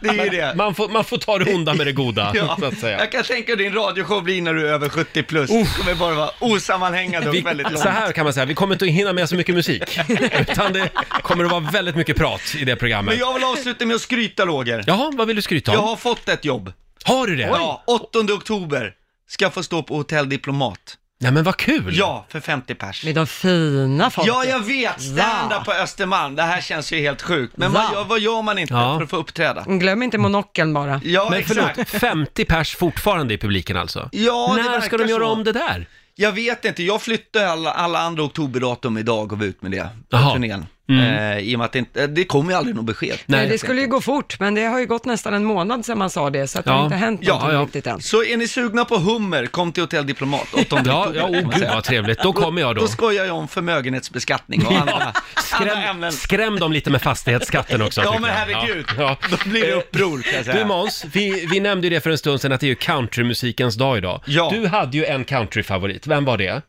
S9: det är ju
S1: Men
S9: det.
S1: Man får, man får ta det onda med det goda,
S9: Ja,
S1: så att säga.
S9: Jag kan tänka hur din radioshow blir när du är över 70 plus. Det kommer bara vara osammanhängande och
S1: Vi,
S9: väldigt långt.
S1: så här kan man säga, vi kommer inte att hinna med så mycket musik. Utan det kommer att vara väldigt mycket prat i det programmet.
S9: Men jag vill avsluta med att skryta Roger.
S1: Jaha, vad vill du skryta om?
S9: Jag har fått ett jobb.
S1: Har du det?
S9: Ja, 8 oktober ska jag få stå på Hotell Diplomat.
S1: Nej men vad kul!
S9: Ja, för 50 pers.
S2: Med de fina folket.
S9: Ja, jag vet! Stand-up på Östermalm, det här känns ju helt sjukt. Men
S2: Va?
S9: vad gör, vad gör man inte
S1: Ja.
S9: för att få uppträda?
S2: Glöm inte monokeln bara.
S9: Ja,
S1: men förlåt,
S9: exakt.
S1: 50 pers fortfarande i publiken alltså?
S9: Ja, det
S1: När ska de
S9: verkar
S1: göra
S9: så.
S1: om det där?
S9: Jag vet inte, jag flyttade alla, alla andra oktoberdatum idag och var ut med det på
S1: Jaha.
S9: turnén.
S1: Mm.
S9: Eh, I och med att det, inte, det kommer ju aldrig något besked.
S2: Nej, det skulle ju gå fort, men det har ju gått nästan en månad sedan man sa det, så att det har inte hänt någonting riktigt än.
S9: Så är ni sugna på hummer, kom till Hotell Diplomat 8 oktober.
S1: Ja, ja, oh, gud vad trevligt. Då kommer jag då.
S9: Då skojar jag om förmögenhetsbeskattning och andra, andra ämnen.
S1: Skräm dem lite med fastighetsskatten också.
S9: Ja,
S1: tycker
S9: men
S1: jag.
S9: herregud.
S1: Ja.
S9: Då blir det uppror kan jag säga.
S1: Du Måns, vi, vi nämnde ju det för en stund sedan att det är ju countrymusikens dag idag. Du hade ju en countryfavorit, vem var det?
S9: Eh,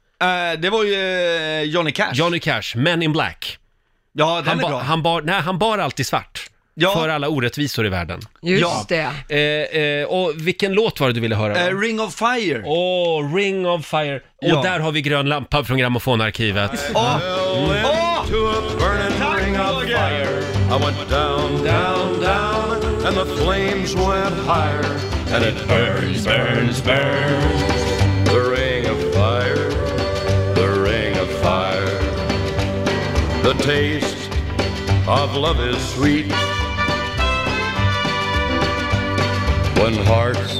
S9: det var ju eh, Johnny Cash.
S1: Johnny Cash, Men in Black.
S9: Ja, den
S1: han
S9: är
S1: bar-
S9: bra.
S1: Han bar, nej, han bar alltid svart. För alla orättvisor i världen.
S2: Just det.
S1: Eh, eh, och vilken låt var det du ville höra? då?
S9: Eh, Ring of Fire.
S1: Åh, Ring of Fire. Och
S9: Ja.
S1: där har vi grön lampa från grammofonarkivet.
S9: Åh!
S12: To a burning ring of fire, I went down, down, down, and the flames went higher, and it burns, burns, burns. The ring of fire, the ring of fire. The taste of love is sweet. When hearts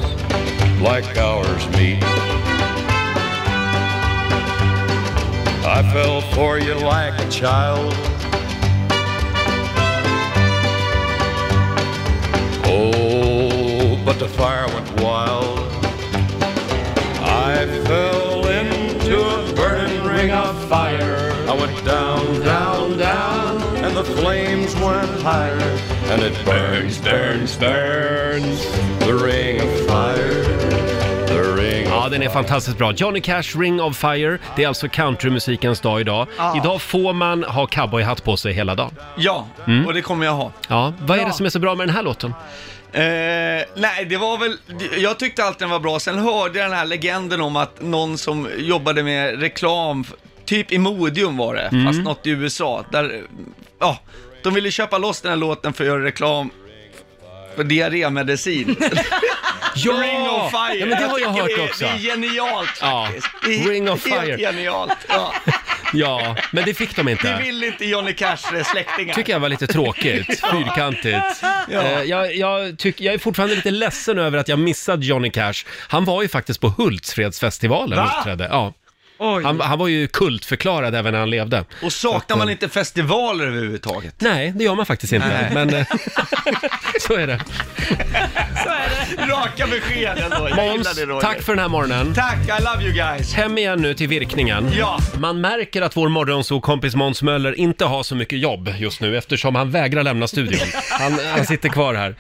S12: like ours meet. I fell for you like a child. Oh, but the fire went wild. I fell into a burning ring of fire. I went down, down, down, and the flames went higher. And it burns, burns, burns. The ring of fire, the ring of
S1: Ja, Ja, den är fantastiskt bra. Johnny Cash, Ring of Fire. Det är alltså countrymusikens dag idag.
S9: Ja.
S1: Idag får man ha cowboyhatt på sig hela dagen.
S9: Ja,
S1: Mm.
S9: och det kommer jag ha.
S1: Ja, vad är det som är så bra med den här låten?
S9: Eh, nej, det var väl, jag tyckte alltid den var bra. Sen hörde jag den här legenden om att någon som jobbade med reklam, typ i Modium var det,
S1: Mm.
S9: fast något i USA, där, ja, de ville köpa loss den här låten för att göra reklam för diarrémedicin.
S1: Ja!
S9: Ring of fire!
S1: Ja, men det har jag
S9: tycker
S1: hört
S9: det är,
S1: också.
S9: Det är genialt
S1: Ja,
S9: faktiskt. Det är
S1: Ring of
S9: helt
S1: Fire.
S9: genialt. Ja.
S1: Ja, men det fick de inte.
S9: Det vill inte Johnny Cash eh, släktingar.
S1: tycker jag var lite tråkigt,
S9: Ja.
S1: fyrkantigt.
S9: Ja.
S1: Eh, Jag, jag, tyck, jag är fortfarande lite ledsen över att jag missade Johnny Cash. Han var ju faktiskt på Hultsfredsfestivalen
S9: Va?
S1: och uppträdde. Ja. Han, han var ju kultförklarad även när han levde.
S9: Och saknar man inte festivaler överhuvudtaget?
S1: Nej, det gör man faktiskt inte.
S9: Nej.
S1: Men eh, så är det.
S9: Raka besked ändå. Jag gillar
S1: Måns,
S9: det, Roger.
S1: tack för den här morgonen.
S9: Tack, I love you guys.
S1: Hem igen nu till virkningen.
S9: Ja.
S1: Man märker att vår morgonsokompis Måns Möller inte har så mycket jobb just nu eftersom han vägrar lämna studion. Han, han sitter kvar här.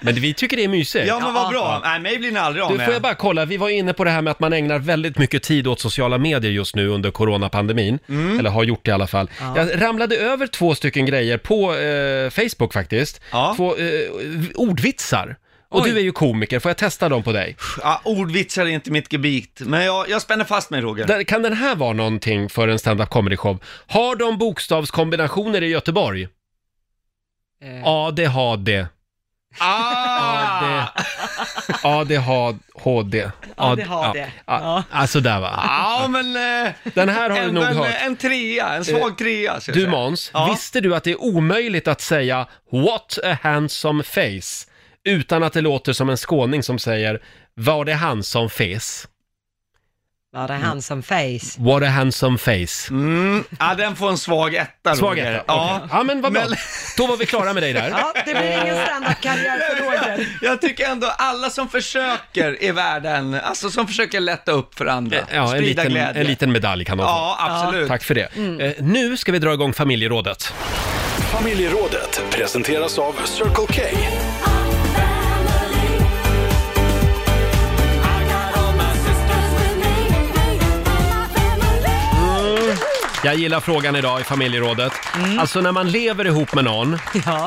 S1: Men vi tycker det är mysigt.
S9: Ja men vad bra. Nej, mig blir ni aldrig av
S1: Du,
S9: med.
S1: får jag bara kolla, vi var ju inne på det här med att man ägnar väldigt mycket tid åt sociala medier just nu under coronapandemin. Eller har gjort det i alla fall.
S9: Mm. Ja.
S1: Jag ramlade över två stycken grejer på eh, Facebook faktiskt. Två eh, ordvitsar. Och du är ju komiker, får jag testa dem på dig?
S9: Ja, ordvitsar är inte mitt gebit, men jag, jag spänner fast mig Roger.
S1: Där, kan den här vara någonting för en stand-up comedy show? Har de bokstavskombinationer i Göteborg? ADHD.
S9: Eh. Ah!
S1: ADHD.
S9: ADHD.
S1: Ja, ja, sådär va. Ah.
S9: Ja men... eh,
S1: Den här har du
S9: en,
S1: nog
S9: en,
S1: hört. Eh,
S9: En trea, en svag trea. ska jag
S1: Du
S9: säga.
S1: Måns,
S9: Ja.
S1: visste du att det är omöjligt att säga “What a handsome face” utan att det låter som en skåning som säger “Var det han som fes?”
S2: Var det han som face?
S1: “What a handsome face”.
S9: Mm. Ja, den får en svag etta Roger.
S1: Svag etta,
S9: Ja.
S1: okej. ja men vad bra. Då var vi klara med dig där.
S2: Ja, det blir ingen standardkarriär för Roger.
S9: Jag tycker ändå alla som försöker i världen, alltså som försöker lätta upp för andra,
S1: Eh, Ja, en,
S9: sprida
S1: liten,
S9: glädje.
S1: en liten medalj kan de få.
S9: Ja, absolut. Mm.
S1: Tack för det. Eh, nu ska vi dra igång familjerådet.
S3: Familjerådet presenteras av Circle K.
S1: Jag gillar frågan idag i familjerådet.
S9: Mm.
S1: Alltså när man lever ihop med någon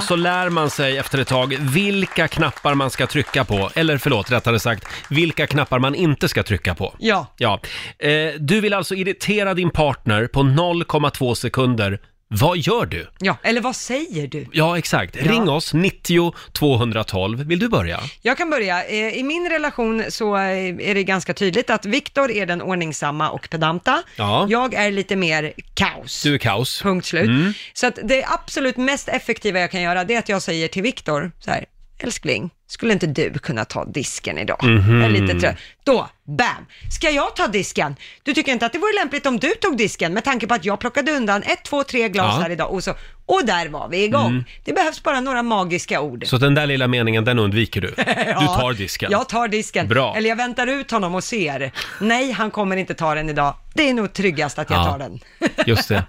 S1: så lär man sig efter ett tag vilka knappar man ska trycka på. Eller förlåt, rättare sagt, vilka knappar man inte ska trycka på.
S2: Ja.
S1: ja. Eh, du vill alltså irritera din partner på 0,2 sekunder. Vad gör du?
S2: Ja, eller vad säger du?
S1: Ja, exakt. Ring oss, 90 212. Vill du börja?
S2: Jag kan börja. Eh, I min relation så eh, är det ganska tydligt att Viktor är den ordningsamma och pedanta.
S1: Ja.
S2: Jag är lite mer kaos.
S1: Du Mm. är kaos.
S2: Punkt slut. Så att det absolut mest effektiva jag kan göra, det är att jag säger till Viktor så här, älskling, skulle inte du kunna ta disken idag?
S8: Mhm.
S2: Jag är lite trött. Då, bam! Ska jag ta disken? Du tycker inte att det vore lämpligt om du tog disken med tanke på att jag plockade undan ett, två, tre glas
S1: Ja.
S2: här idag och så, och där var vi igång.
S1: Mm.
S2: Det behövs bara några magiska ord.
S1: Så den där lilla meningen, den undviker du. Du
S2: Ja,
S1: tar disken.
S2: Jag tar disken.
S1: Bra.
S2: Eller jag väntar ut honom och ser. Nej, han kommer inte ta den idag. Det är nog tryggast att jag
S1: Ja.
S2: tar den.
S1: Just det.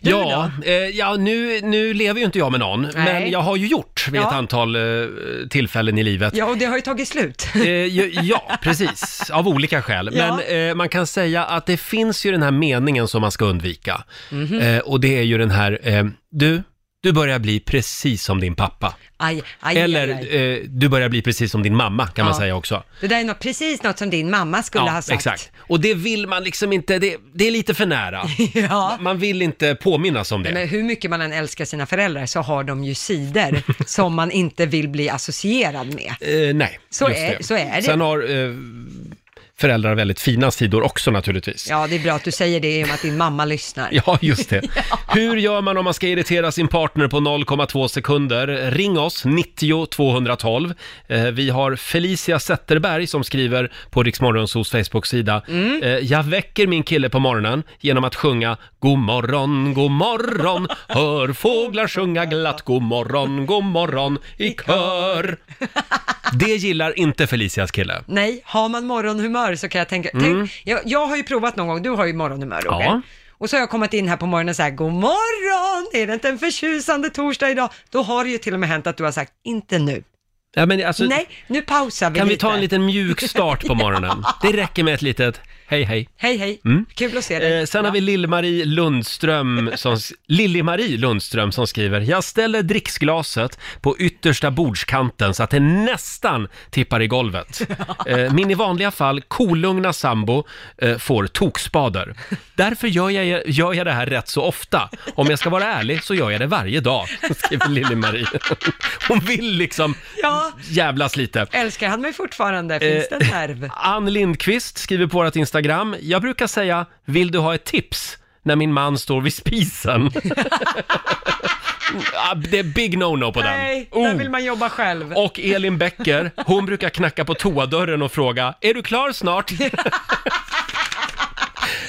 S1: Ja, eh, ja nu, nu lever ju inte jag med någon, men jag har ju gjort vid ett
S2: Ja.
S1: antal eh, tillfällen i livet.
S2: Ja, och det har ju tagit slut.
S1: Eh, ju- ja, precis. Av olika skäl.
S2: Ja.
S1: Men eh, man kan säga att det finns ju den här meningen som man ska undvika.
S2: Mhm.
S1: Eh, och det är ju den här, eh, du, du börjar bli precis som din pappa.
S2: Aj, aj,
S1: Eller,
S2: aj, aj.
S1: eh, du börjar bli precis som din mamma, kan man
S2: Ja.
S1: säga också.
S2: Det där är något, precis något som din mamma skulle
S1: Ja,
S2: ha sagt.
S1: Exakt. Och det vill man liksom inte, det, det är lite för nära.
S2: Ja.
S1: Man vill inte påminnas om det.
S2: Men hur mycket man än älskar sina föräldrar så har de ju sidor som man inte vill bli associerad med.
S1: Eh, nej,
S2: Så
S1: just
S2: är-
S1: det.
S2: så är det.
S1: Sen har eh, föräldrar väldigt fina sidor också naturligtvis.
S2: Ja, det är bra att du säger det i och med att din mamma lyssnar.
S1: Ja, just det. Hur gör man om man ska irritera sin partner på 0,2 sekunder? Ring oss, 90 212. Eh, vi har Felicia Zetterberg som skriver på Riksmorgonsos Facebook-sida. Eh, jag väcker min kille på morgonen genom att sjunga God morgon, god morgon, hör fåglar sjunga glatt God morgon, god morgon i kör. Det gillar inte Felicias kille.
S2: Nej, har man morgonhumör så kan jag tänka,
S1: Mm.
S2: tänk, jag, jag har ju provat någon gång, du har ju morgonhumör Roger.
S1: Ja.
S2: Och så har jag kommit in här på morgonen och sagt god morgon, är det inte en förtjusande torsdag idag? Då har det ju till och med hänt att du har sagt inte nu.
S1: Ja, men alltså,
S2: Nej, nu pausar vi
S1: kan vi
S2: lite.
S1: ta en liten mjuk start på morgonen? Det räcker med ett litet hej hej.
S2: Hej, hej.
S1: Mm.
S2: Kul att se dig.
S1: Eh, sen har vi Lill-Marie Lundström som, Lillie-Marie Lundström som skriver “Jag ställer dricksglaset på yttersta bordskanten så att det nästan tippar i golvet. Eh, min i vanliga fall kolugna sambo eh, får tokspader. Därför gör jag, gör jag det här rätt så ofta. Om jag ska vara ärlig så gör jag det varje dag”, skriver Lillie-Marie. Hon vill liksom
S2: Ja,
S1: jävlas lite.
S2: älskar han mig fortfarande? Finns det en nerv?
S1: Ann Lindqvist skriver på vårt Instagram, jag brukar säga, vill du ha ett tips när min man står vid spisen? Ah, Det är big no-no på den.
S2: Nej, där
S1: Oh.
S2: vill man jobba själv.
S1: Och Elin Bäcker, hon brukar knacka på toadörren och fråga, är du klar snart?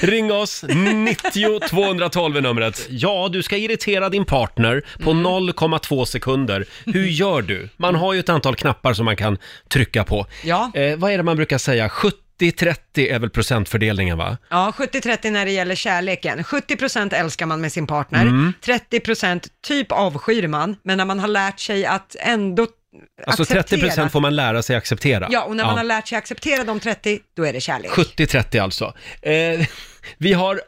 S1: Ring oss, 90 212 är numret. Mm. Ja, du ska irritera din partner på 0,2 sekunder. Hur gör du? Man har ju ett antal knappar som man kan trycka på.
S2: Ja.
S1: Eh, vad är det man brukar säga? 70-30 är väl procentfördelningen va?
S2: Ja, 70-30 när det gäller kärleken. 70% älskar man med sin partner,
S1: Mm.
S2: 30% typ avskyr man, men när man har lärt sig att ändå
S1: Alltså 30% får man lära sig acceptera.
S2: Ja, och när man
S1: Ja.
S2: har lärt sig acceptera de 30, då är det kärlek.
S1: 70-30 alltså. Eh, vi har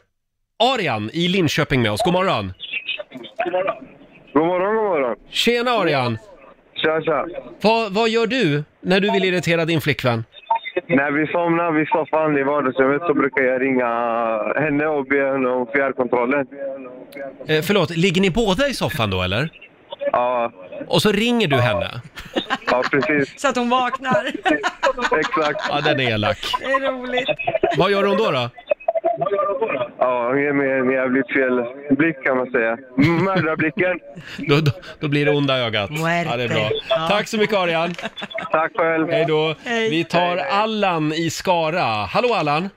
S1: Arian i Linköping med oss. God morgon!
S13: God morgon, god morgon.
S1: Tjena Arian!
S13: Tja, tja.
S1: Vad, vad gör du när du vill irritera din flickvän?
S13: När vi somnar vid soffan i vardagsrummet så brukar jag ringa henne och be henne om fjärrkontrollen.
S1: Eh, förlåt, ligger ni båda i soffan då eller?
S13: Ja.
S1: Och så ringer du henne?
S13: Ja, precis.
S2: Så att hon vaknar.
S13: Exakt.
S1: Ja, den är elak.
S2: Det är roligt.
S1: Vad gör hon då? då?
S13: Ja, hon ger mig en jävligt fel blick kan man säga. Mördarblicken.
S1: Då, då, då blir det onda ögat.
S13: Muerte.
S1: Ja, det är bra.
S13: Ja.
S1: Tack så mycket Arian!
S13: Tack själv!
S1: Hej då!
S13: Hej.
S1: Vi tar Allan i Skara. Hallå Allan!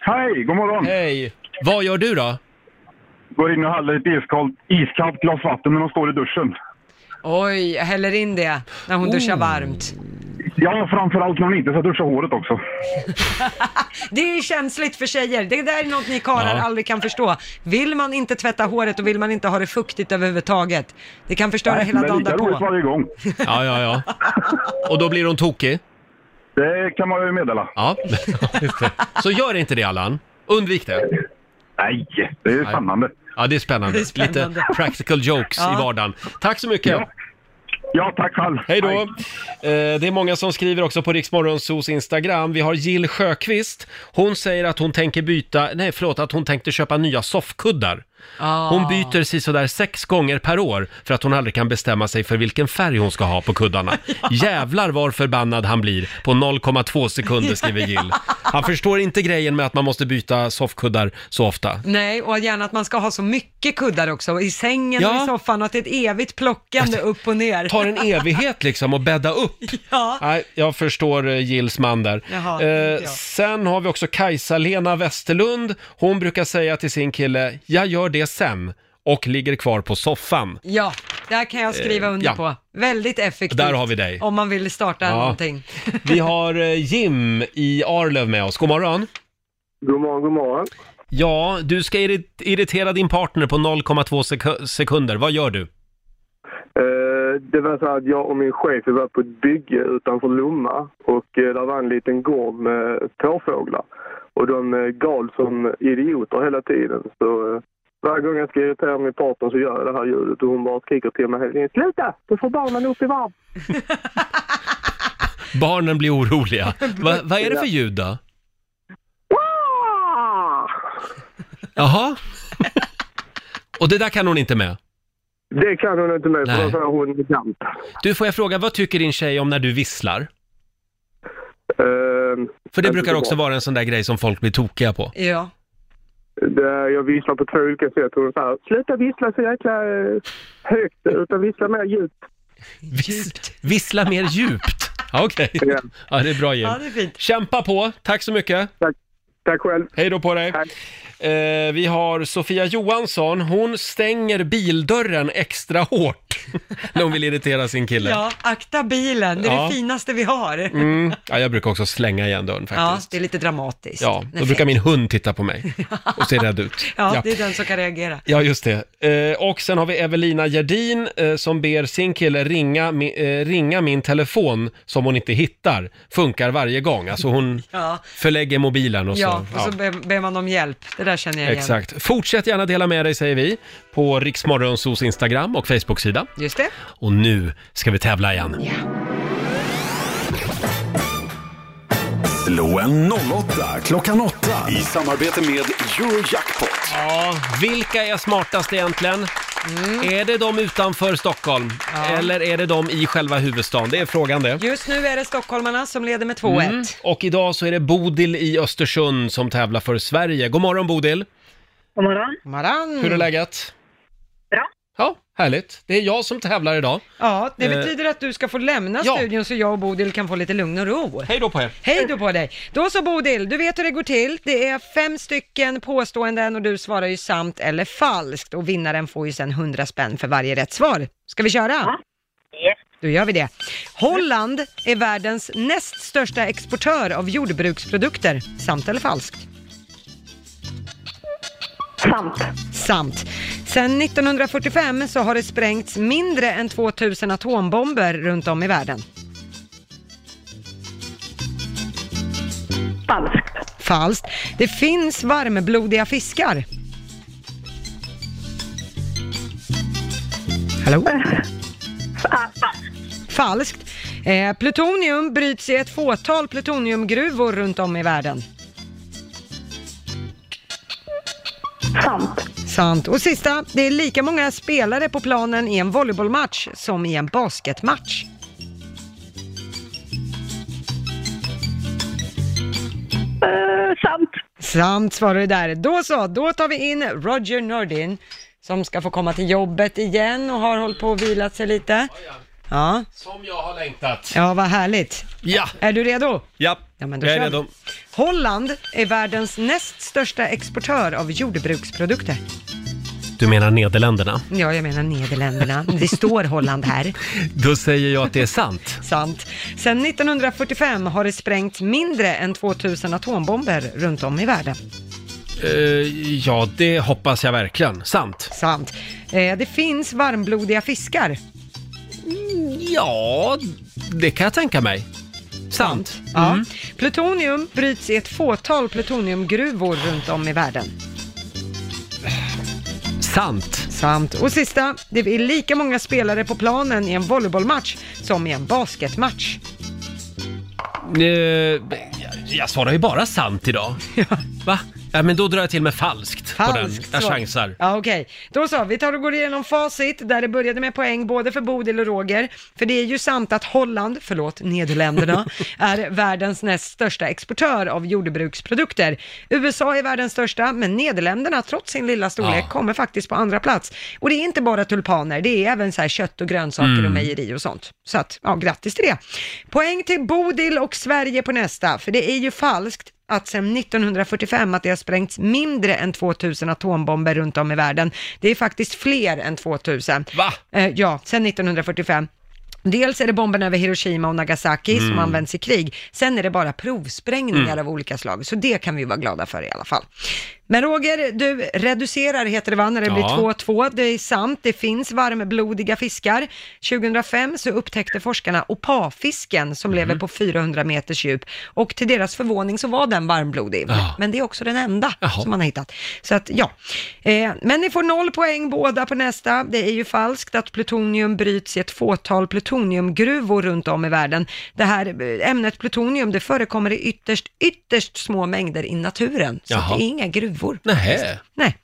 S14: Hej, god morgon!
S1: Hej! Vad gör du då?
S14: Går in och häller ett iskallt, iskallt glas vatten när de står i duschen.
S2: Oj, jag häller in det när hon
S1: Oh.
S2: duschar varmt.
S14: Ja, framförallt när de inte ska duscha håret också.
S2: Det är ju känsligt för tjejer. Det där är något ni karlar
S14: Ja.
S2: aldrig kan förstå. Vill man inte tvätta håret och vill man inte ha det fuktigt överhuvudtaget, det kan förstöra
S14: Nej,
S2: hela
S14: men
S2: dagen
S14: lika roligt
S2: därpå.
S14: varje gång.
S1: Ja, ja, ja. Och då blir hon tokig?
S14: Det kan man ju meddela.
S1: Ja, just det. Så gör inte det Allan. Undvik det.
S14: Nej, det är spännande.
S1: Ja, det är spännande.
S14: Det är spännande.
S1: Lite practical jokes
S14: Ja.
S1: i vardagen. Tack så mycket!
S14: Ja. Ja, tack själv.
S1: Hej då! Eh, Det är många som skriver också på Riksmorgonsos Instagram. Vi har Jill Sjöqvist. Hon säger att hon tänker byta, nej förlåt, att hon tänkte köpa nya soffkuddar.
S14: Ah.
S1: Hon byter sisådär sex gånger per år för att hon aldrig kan bestämma sig för vilken färg hon ska ha på kuddarna. Jävlar var förbannad han blir på 0,2 sekunder skriver Jill. Han förstår inte grejen med att man måste byta soffkuddar så ofta.
S2: Nej, och gärna att man ska ha så mycket kuddar också, i sängen
S1: Ja. Alltså,
S2: och i soffan, och att det är ett evigt plockande upp och ner.
S1: tar en evighet liksom att bädda upp.
S2: Ja.
S1: Nej, jag förstår eh, Gills man där. Eh,
S2: Jaha, det är inte jag.
S1: sen har vi också Kajsa-Lena Westerlund. Hon brukar säga till sin kille, jag gör det sen och ligger kvar på soffan.
S2: Ja, där kan jag skriva
S1: Eh,
S2: under
S1: ja.
S2: på. Väldigt effektivt.
S1: Där har vi dig.
S2: Om man vill starta
S1: Ja.
S2: någonting.
S1: Vi har eh, Jim i Arlöv med oss. God morgon.
S13: God morgon, god morgon.
S1: Ja, du ska irri- irritera din partner på 0,2 sek- sekunder. Vad gör du?
S13: Eh, det var så att jag och min chef vi var på ett bygge utanför Lomma och eh, där var en liten gård med påfåglar. Och de eh, gal som idioter hela tiden. Så eh, varje gång jag ska irritera min partner så gör jag det här ljudet och hon bara skriker till mig hela tiden. Sluta! Du får barnen upp i varv.
S1: Barnen blir oroliga. Va, vad är det för ljud då? Jaha? Och det där kan hon inte med?
S13: Det kan hon inte med för
S1: Nej.
S13: då får hon i kamp.
S1: Du, får jag fråga, vad tycker din tjej om när du visslar?
S13: Eh,
S1: För det brukar också vara en sån där grej som folk blir tokiga på.
S2: Ja.
S13: Det, jag visslar på två olika sätt. Hon sa sluta vissla så jäkla eh, högt utan vissla mer djupt.
S1: Vissla mer djupt. Ja, Okej. Ja, det är bra Jim.
S13: Ja, det är fint.
S1: Kämpa på. Tack så mycket.
S13: Tack. Tack själv.
S1: Hej då på dig. Eh, vi har Sofia Johansson. Hon stänger bildörren extra hårt. när hon vill irritera sin kille.
S2: Ja, akta bilen, det är
S1: Ja.
S2: det finaste vi har.
S1: Mm. Ja, jag brukar också slänga igen dörren
S2: Ja,
S1: faktiskt.
S2: det är lite dramatiskt.
S1: Ja,
S2: Nej,
S1: då brukar
S2: fräckt.
S1: min hund titta på mig och se rädd ut.
S2: Ja,
S1: Ja.
S2: det är den som kan reagera.
S1: Ja, just det. Eh, och sen har vi Evelina Gerdin eh, som ber sin kille ringa, mi- eh, ringa min telefon som hon inte hittar. Funkar varje gång. Alltså hon
S2: Ja.
S1: förlägger mobilen och så.
S2: ja, och så
S1: ja.
S2: ber, ber man om hjälp. Det där känner jag igen.
S1: Exakt. Fortsätt gärna dela med dig säger vi på Riksmorgonsos Instagram och Facebook-sida.
S2: Just det.
S1: Och nu ska vi tävla igen.
S3: Loen 08, klockan 8. I samarbete med Eurojackpot.
S1: Ja, vilka är smartast egentligen?
S2: Mm.
S1: Är det de utanför Stockholm eller är det de i själva huvudstaden? Det är frågan det.
S2: Just nu är det stockholmarna som leder med 2-1.
S1: Mm. Och idag så är det Bodil i Östersund som tävlar för Sverige. God morgon Bodil!
S10: God morgon.
S1: Hur är läget? Mm. Bra. Ja, härligt. Det är jag som tävlar idag.
S2: Ja, det
S1: Eh.
S2: betyder att du ska få lämna
S1: Ja.
S2: studion så jag och Bodil kan få lite lugn och ro.
S1: Hej då på er!
S2: Hej då på dig! Då så Bodil, du vet hur det går till. Det är fem stycken påståenden och du svarar ju sant eller falskt och vinnaren får ju sen 100 spänn för varje rätt svar. Ska vi köra? Ja. Då gör vi det. Holland är världens näst största exportör av jordbruksprodukter. Sant eller falskt? Sant. Sant. Sedan 1945 så har det sprängts mindre än 2000 atombomber runt om i världen. Falskt. Falskt. Det finns varmblodiga fiskar. Hallå? Falskt. Eh, plutonium bryts i ett fåtal plutoniumgruvor runt om i världen. Sant. Sant. Och sista, det är lika många spelare på planen i en volleybollmatch som i en basketmatch. sant. Sant svarar du där. Då så, då tar vi in Roger Nordin som ska få komma till jobbet igen och har hållit på och vilat sig lite. Ja,
S1: Som jag har längtat.
S2: ja vad härligt.
S1: Ja.
S2: Är du redo?
S1: Ja,
S2: men då
S1: jag är
S2: kör
S1: redo.
S2: Holland är världens näst största exportör av jordbruksprodukter.
S1: Du menar Nederländerna?
S2: Ja, jag menar Nederländerna. Det står Holland här.
S1: Då säger jag att det är sant.
S2: Sant. Sedan 1945 har det sprängt mindre än 2000 atombomber runt om i världen.
S1: Eh, ja, det hoppas jag verkligen. Sant.
S2: Sant. Eh, det finns varmblodiga fiskar.
S1: Ja, det kan jag tänka mig. Sant.
S2: Ja.
S1: Mm.
S2: Plutonium bryts i ett fåtal plutoniumgruvor runt om i världen.
S1: Sant.
S2: Sant. Och sista, det är lika många spelare på planen i en volleybollmatch som i en basketmatch.
S1: Eh, jag- jag svarar ju bara sant idag. Va? Ja, men då drar jag till med falskt,
S2: Falskt
S1: på den. Jag
S2: svar.
S1: chansar.
S2: Ja, okej. Då så, vi tar och går igenom facit där det började med poäng både för Bodil och Roger. För det är ju sant att Holland, förlåt, Nederländerna, är världens näst största exportör av jordbruksprodukter. USA är världens största, men Nederländerna, trots sin lilla storlek,
S1: Ja.
S2: kommer faktiskt på andra plats. Och det är inte bara tulpaner, det är även så här kött och grönsaker och
S1: Mm.
S2: mejeri och sånt. Så att, ja, grattis till det. Poäng till Bodil och Sverige på nästa, för det är ju falskt att sedan 1945 att det har sprängts mindre än 2000 atombomber runt om i världen. Det är faktiskt fler än 2000.
S1: Va?
S2: Eh, ja, sedan 1945. Dels är det bomberna över Hiroshima och Nagasaki som
S1: Mm.
S2: används i krig. Sen är det bara provsprängningar
S1: Mm.
S2: av olika slag, så det kan vi vara glada för i alla fall. Men Roger, du reducerar heter det va, när det blir
S1: Ja.
S2: 2-2. Det är sant, det finns varmblodiga fiskar. 2005 så upptäckte forskarna opafisken
S1: Mm.
S2: som lever på 400 meters djup och till deras förvåning så var den varmblodig.
S1: Ja.
S2: Men det är också den enda som man har hittat. Så att ja, eh, men ni får noll poäng båda på nästa. Det är ju falskt att plutonium bryts i ett fåtal plutoniumgruvor runt om i världen. Det här eh, ämnet plutonium, det förekommer i ytterst, ytterst små mängder i naturen. Så
S1: Jaha.
S2: att det är inga gruvor.
S1: Nähä.
S2: Nej.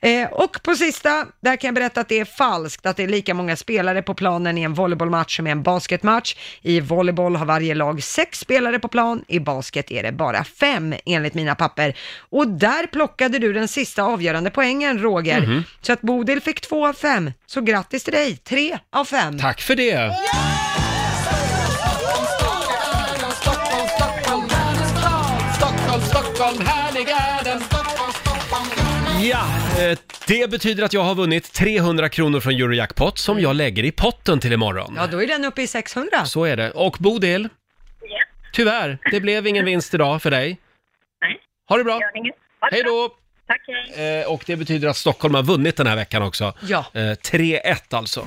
S2: Eh, och på sista, där kan jag berätta att det är falskt att det är lika många spelare på planen i en volleybollmatch som i en basketmatch. I volleyboll har varje lag sex spelare på plan, i basket är det bara fem enligt mina papper. Och där plockade du den sista avgörande poängen Roger.
S1: Mhm.
S2: Så att Bodil fick två av fem, så grattis till dig, tre av fem.
S1: Tack för det. Ja, eh, det betyder att jag har vunnit 300 kronor från Eurojackpot som jag lägger i potten till imorgon.
S2: Ja, då är den uppe i 600.
S1: Så är det. Och Bodil? Tyvärr, det blev ingen vinst idag för dig. Ha det bra! Hej då!
S15: Tack, hej.
S1: Eh, och det betyder att Stockholm har vunnit den här veckan också.
S2: Ja.
S1: Eh, 3-1 alltså.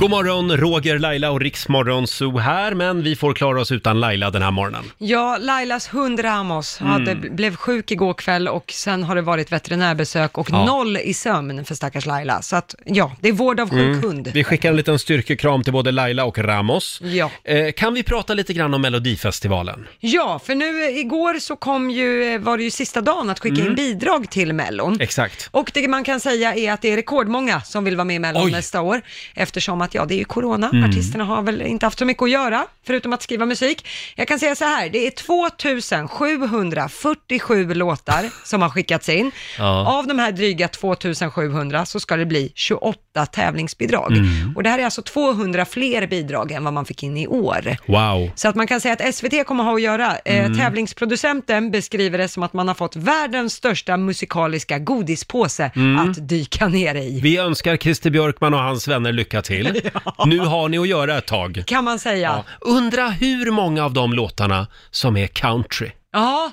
S1: God morgon, Roger, Laila och Riksmorgon Zoo här, men vi får klara oss utan Laila den här morgonen.
S2: Ja, Lailas hund Ramos
S1: Mm.
S2: hade, blev sjuk igår kväll och sen har det varit veterinärbesök och
S1: Ja.
S2: noll i sömn för stackars Laila. Så att ja, det är vård av sjuk
S1: Mm.
S2: hund.
S1: Vi skickar en liten styrkekram till både Laila och Ramos.
S2: Ja.
S1: Eh, kan vi prata lite grann om Melodifestivalen?
S2: Ja, för nu eh, igår så kom ju, eh, var det ju sista dagen att skicka
S1: Mm.
S2: in bidrag till Mellon.
S1: Exakt.
S2: Och det man kan säga är att det är rekordmånga som vill vara med i Mellon
S1: Oj.
S2: nästa år. Eftersom att, ja det är ju corona,
S1: Mm.
S2: artisterna har väl inte haft så mycket att göra, förutom att skriva musik. Jag kan säga så här, det är 2747 låtar som har skickats in.
S9: Ja.
S2: Av de här dryga 2700 så ska det bli 28 tävlingsbidrag.
S9: Mm.
S2: Och det här är alltså 200 fler bidrag än vad man fick in i år.
S1: Wow.
S2: Så att man kan säga att SVT kommer ha att göra. Eh,
S1: Mm.
S2: Tävlingsproducenten beskriver det som att man har fått världens största musikaliska godispåse
S1: Mm.
S2: att dyka ner i.
S1: Vi önskar Christer Björkman och hans vänner lycka till. Nu har ni att göra ett tag.
S2: Kan man säga.
S1: Undra hur många av de låtarna som är country?
S2: Ja,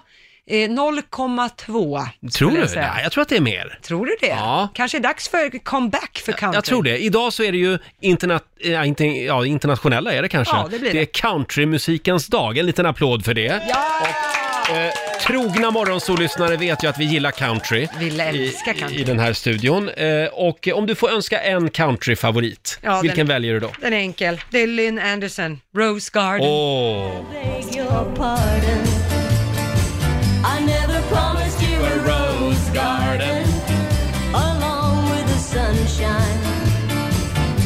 S2: eh, 0,2
S1: Tror
S2: skulle
S1: du?
S2: jag säga.
S1: Nej, jag tror att det är mer.
S2: Tror du det?
S1: Ja.
S2: Kanske är dags för comeback för country.
S1: Jag tror det. Idag så är det ju interna ja, inte, ja, internationella är det kanske.
S2: Ja, det blir
S1: är
S2: det.
S1: countrymusikens dag. En liten applåd för det. Och, eh, trogna morgonsollyssnare vet ju att vi gillar country.
S2: Vill älska
S1: I,
S2: country.
S1: I den här studion. Eh, och om du får önska en countryfavorit,
S2: Ja,
S1: vilken
S2: den-
S1: väljer du då?
S2: Den är enkel. Det är Lynn Anderson, Rose Garden.
S1: Åh!
S8: beg your pardon. I never promised you a rose garden along with the sunshine.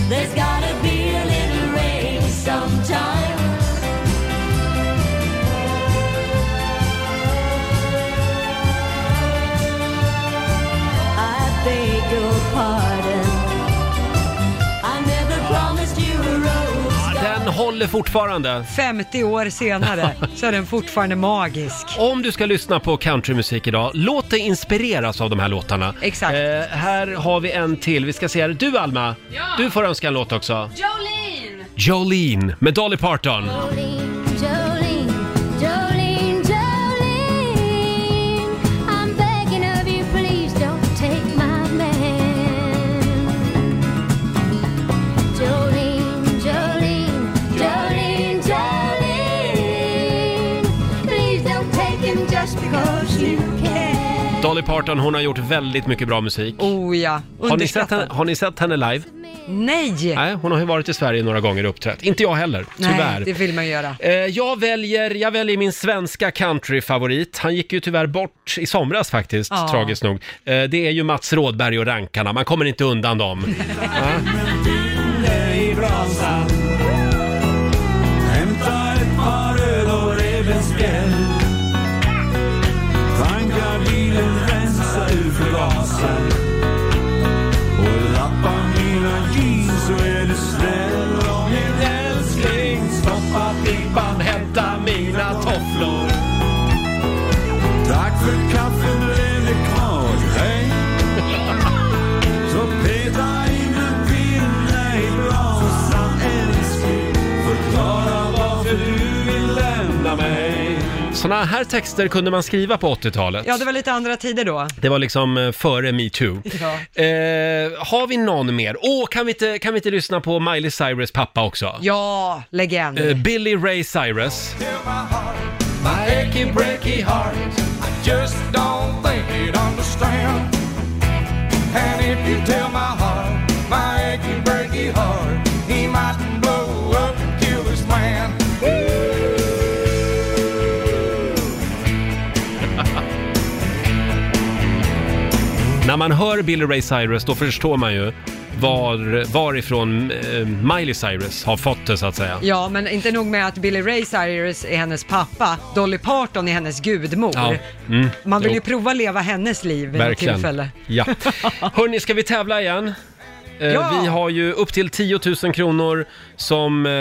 S8: There's gotta be a little rain sometime. I beg your pardon. I never promised you a rose garden.
S1: Den håller fortfarande.
S2: 50 år senare så är den fortfarande magisk.
S1: Om du ska lyssna på countrymusik idag, låt dig inspireras av de här låtarna. Eh,
S2: Exakt.
S1: här har vi en till. Vi ska se här. Du Alma, du får önska en låt också.
S7: Jolene!
S1: Jolene med Dolly Parton.
S4: Jolene, Jolene, Jolene, I'm begging of you, please don't take my man. Jolene, Jolene, Jolene, Jolene, please don't take him just because you can.
S1: Dolly Parton, hon har gjort väldigt mycket bra musik.
S2: Oh ja,
S1: Har ni, sett
S2: underskattad.
S1: henne, har ni sett henne live?
S2: Nej!
S1: Nej, hon har ju varit i Sverige några gånger och uppträtt. Inte jag heller, tyvärr.
S2: Nej, det vill man göra.
S1: Eh, Jag väljer, jag väljer min svenska countryfavorit. Han gick ju tyvärr bort i somras faktiskt,
S2: Ja.
S1: tragiskt nog. Eh, Det är ju Mats Rådberg och Rankarna, man kommer inte undan dem. Ja.
S9: i brasan Hämta ett par öl och revbensspjäll Tankgardinen rensa ur förgasen Och lappa mina jeans så är du snäll om min älskling Stoppa pipan, hämta mina tofflor Tack för kaffet, nu är det kvar, hej så peta in en pinne i brasan älskling Förklara varför du vill lämna mig
S1: Såna här texter kunde man skriva på 80-talet.
S2: Ja, det var lite andra tider då.
S1: Det var liksom eh, före metoo.
S2: Ja.
S1: Eh, har vi någon mer? Åh, kan, vi inte, kan vi inte lyssna på Miley Cyrus pappa också?
S2: Ja, legend.
S1: Eh, Billy Ray Cyrus.
S9: My achy breaky heart I just don't think it understand And if you tell my heart My achy breaky heart He might blow up and kill this man
S1: När man hör Billy Ray Cyrus då förstår man ju var, varifrån eh, Miley Cyrus har fått det så att säga.
S2: Ja, men inte nog med att Billy Ray Cyrus är hennes pappa, Dolly Parton är hennes gudmor.
S1: Mm.
S2: Man vill
S1: Jo,
S2: ju prova leva hennes liv vid något
S1: Verkligen.
S2: tillfälle.
S1: Ja. Hörni, ska vi tävla igen? Eh,
S2: Ja.
S1: Vi har ju upp till 10 000 kronor som eh,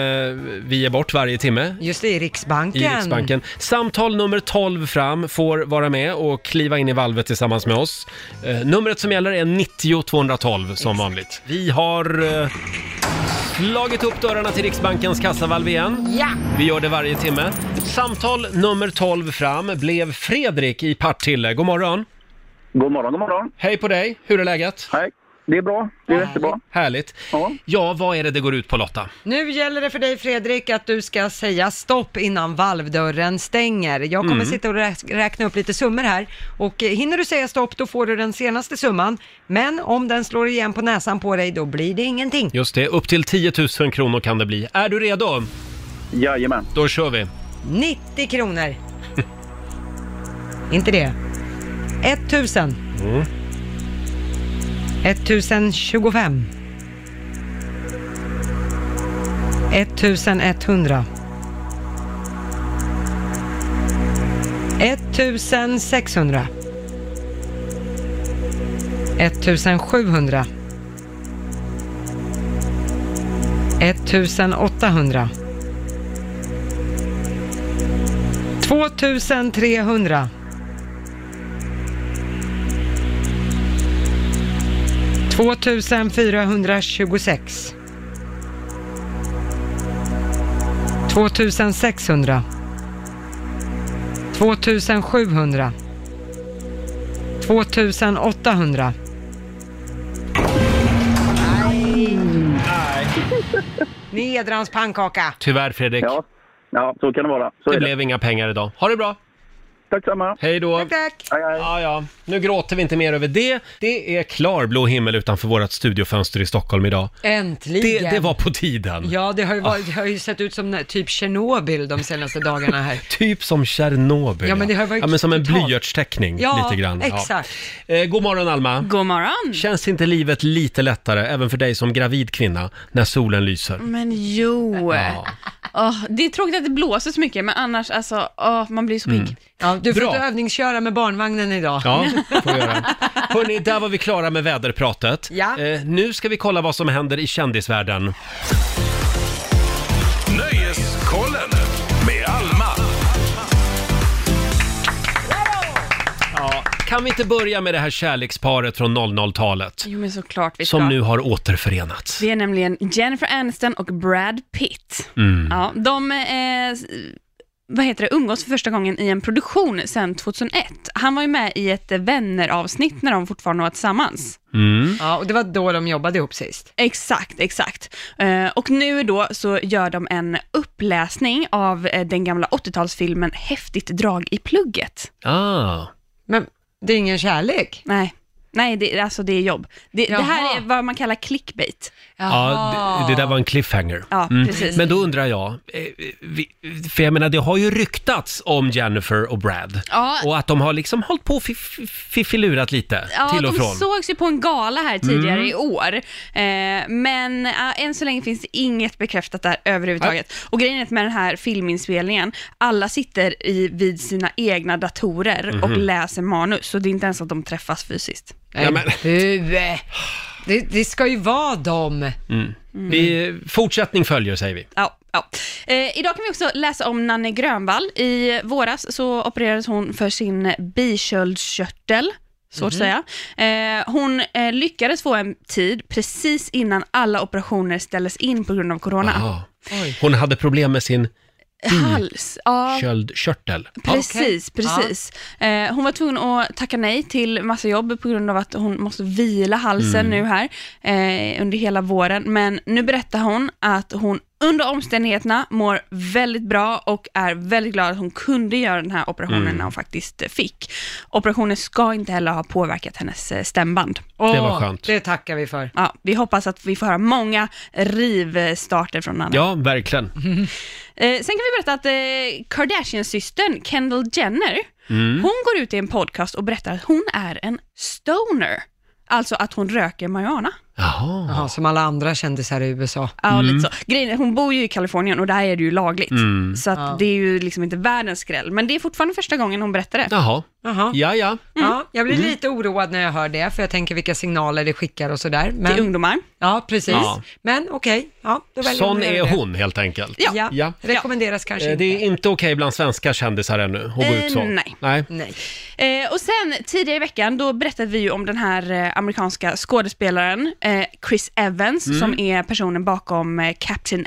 S1: vi ger bort varje timme
S2: Just det, i Riksbanken.
S1: i Riksbanken. Samtal nummer 12 fram får vara med och kliva in i valvet tillsammans med oss. Eh, numret som gäller är 90 212 som vanligt. Vi har eh, slagit upp dörrarna till Riksbankens kassavalv igen.
S2: Ja!
S1: Vi gör det varje timme. Samtal nummer 12 fram blev Fredrik i Partille. God morgon!
S16: God morgon, god morgon!
S1: Hej på dig! Hur är läget?
S16: Hej! Det är bra. Det är jättebra.
S1: Härligt! Ja. ja, vad är det det går ut på Lotta?
S2: Nu gäller det för dig Fredrik att du ska säga stopp innan valvdörren stänger. Jag kommer
S1: Mm.
S2: sitta och rä- räkna upp lite summor här och eh, hinner du säga stopp då får du den senaste summan. Men om den slår igen på näsan på dig då blir det ingenting.
S1: Just det, upp till 10 000 kronor kan det bli. Är du redo?
S16: Jajamän.
S1: Då kör vi!
S2: 90 kronor. Inte det. 1000.
S1: Mm.
S2: 1025. 1100. 1600. 1700. 1800. 2300. 2426. 2600. 2700. 2800. Nej. Nedrans pannkaka.
S1: Tyvärr Fredrik. Ja,
S16: så kan det vara.
S1: det blev inga pengar idag. Ha det bra!
S16: Tack samma.
S1: Hej då!
S2: Tack, tack!
S1: Ja, ja. Nu gråter vi inte mer över det. Det är klarblå himmel utanför vårt studiofönster i Stockholm idag.
S2: Äntligen!
S1: Det, det var på tiden.
S2: Ja, det har ju, varit, det har ju sett ut som när- typ Tjernobyl de senaste dagarna här.
S1: Typ som Tjernobyl.
S2: Ja, men det har varit
S1: ja, men som en
S2: totalt-
S1: blyertsteckning
S2: Ja,
S1: lite grann.
S2: exakt.
S1: Ja. Eh, god morgon Alma.
S7: God morgon.
S1: Känns inte livet lite lättare, även för dig som gravid kvinna, när solen lyser?
S2: Mm.
S7: Men jo. Åh, det är tråkigt att det blåser så mycket, men annars alltså, åh, man blir så pigg.
S1: Mm.
S2: Ja, du får
S1: Bra.
S2: inte övningsköra med barnvagnen idag.
S1: Ja, får vi göra. Hörni, där var vi klara med väderpratet.
S2: Ja.
S1: Eh, nu ska vi kolla vad som händer i kändisvärlden.
S3: Nöjeskollen med Alma.
S1: Ja. Kan vi inte börja med det här kärleksparet från 00-talet?
S7: Jo, men såklart vi ska.
S1: Som nu har återförenats.
S7: Det är nämligen Jennifer Aniston och Brad Pitt.
S1: Mm.
S7: Ja, de eh, s- vad heter det, umgås för första gången i en produktion sedan 2001. Han var ju med i ett eh, vänner-avsnitt när de fortfarande var tillsammans.
S2: Ja, och det var då de jobbade ihop sist.
S7: Exakt, exakt. Eh, och nu då så gör de en uppläsning av eh, den gamla 80-talsfilmen Häftigt drag i plugget.
S1: Ah.
S2: Men det är ingen kärlek?
S7: Nej, Nej det, alltså det är jobb. Det, det här
S2: Jaha.
S7: är vad man kallar clickbait.
S1: Ja, det, det där var en cliffhanger.
S7: Ja, precis.
S1: Mm. Men då undrar jag, eh, vi- för jag menar det har ju ryktats om Jennifer och Brad.
S7: Ja.
S1: Och att de har liksom hållit på och fiff- fiffilurat lite
S7: Ja,
S1: till och
S7: de
S1: från.
S7: sågs ju på en gala här tidigare
S1: Mm.
S7: i år. Eh, men eh, än så länge finns det inget bekräftat där överhuvudtaget. Och grejen är att med den här filminspelningen, alla sitter i, vid sina egna datorer och
S2: Mhm.
S7: läser manus, så det är inte ens att de träffas fysiskt.
S2: Nej, men... det, det ska ju vara dem.
S1: Mm. Vi, fortsättning följer säger vi.
S7: Ja, ja. Eh, idag kan vi också läsa om Nanne Grönvall. I våras så opererades hon för sin bisköldskörtel. Svårt
S17: Mhm.
S7: att säga. Eh, hon eh, lyckades få en tid precis innan alla operationer ställdes in på grund av corona.
S1: Ah. Hon hade problem med sin
S7: Hals, ja.
S1: köldkörtel.
S7: Precis, precis. Eh, hon var tvungen att tacka nej till massa jobb på grund av att hon måste vila halsen
S1: Mm.
S7: nu här eh, under hela våren. Men nu berättar hon att hon under omständigheterna mår väldigt bra och är väldigt glad att hon kunde göra den här operationen
S1: Mm.
S7: när hon faktiskt eh, fick. Operationen ska inte heller ha påverkat hennes eh, stämband.
S1: Det var skönt.
S2: Det tackar vi för.
S7: Ja, vi hoppas att vi får höra många rivstarter från Anna.
S1: Ja, verkligen.
S7: Eh, sen kan vi berätta att eh, Kardashian-systern Kendall Jenner,
S1: Mm.
S7: hon går ut i en podcast och berättar att hon är en stoner. Alltså att hon röker marijuana.
S1: Jaha.
S2: som alla andra kändisar i USA.
S7: Ja,
S1: Mm.
S7: lite så. Grejen är, hon bor ju i Kalifornien och där är det ju lagligt.
S2: Mm.
S7: Så att
S2: Ja.
S7: det är ju liksom inte världens skräll. Men det är fortfarande första gången hon berättar det.
S1: Jaha.
S2: Jaha.
S1: Ja, ja.
S2: Ja, jag blir
S1: Mm.
S2: lite oroad när jag hör det, för jag tänker vilka signaler det skickar och sådär. Men...
S7: Till ungdomar?
S2: Ja, precis.
S1: Ja.
S2: Men okej, ja, då väljer
S1: Sån
S2: vi att
S1: är
S2: göra det.
S1: hon helt enkelt.
S2: Ja,
S1: ja.
S2: rekommenderas kanske
S1: Eh, Det
S2: inte.
S1: är inte okej bland svenska kändisar ännu att gå
S7: Eh,
S1: ut så.
S7: nej.
S1: nej.
S7: Eh, och sen tidigare i veckan, då berättade vi ju om den här eh, amerikanska skådespelaren eh, Chris Evans,
S1: Mm.
S7: som är personen bakom eh, Captain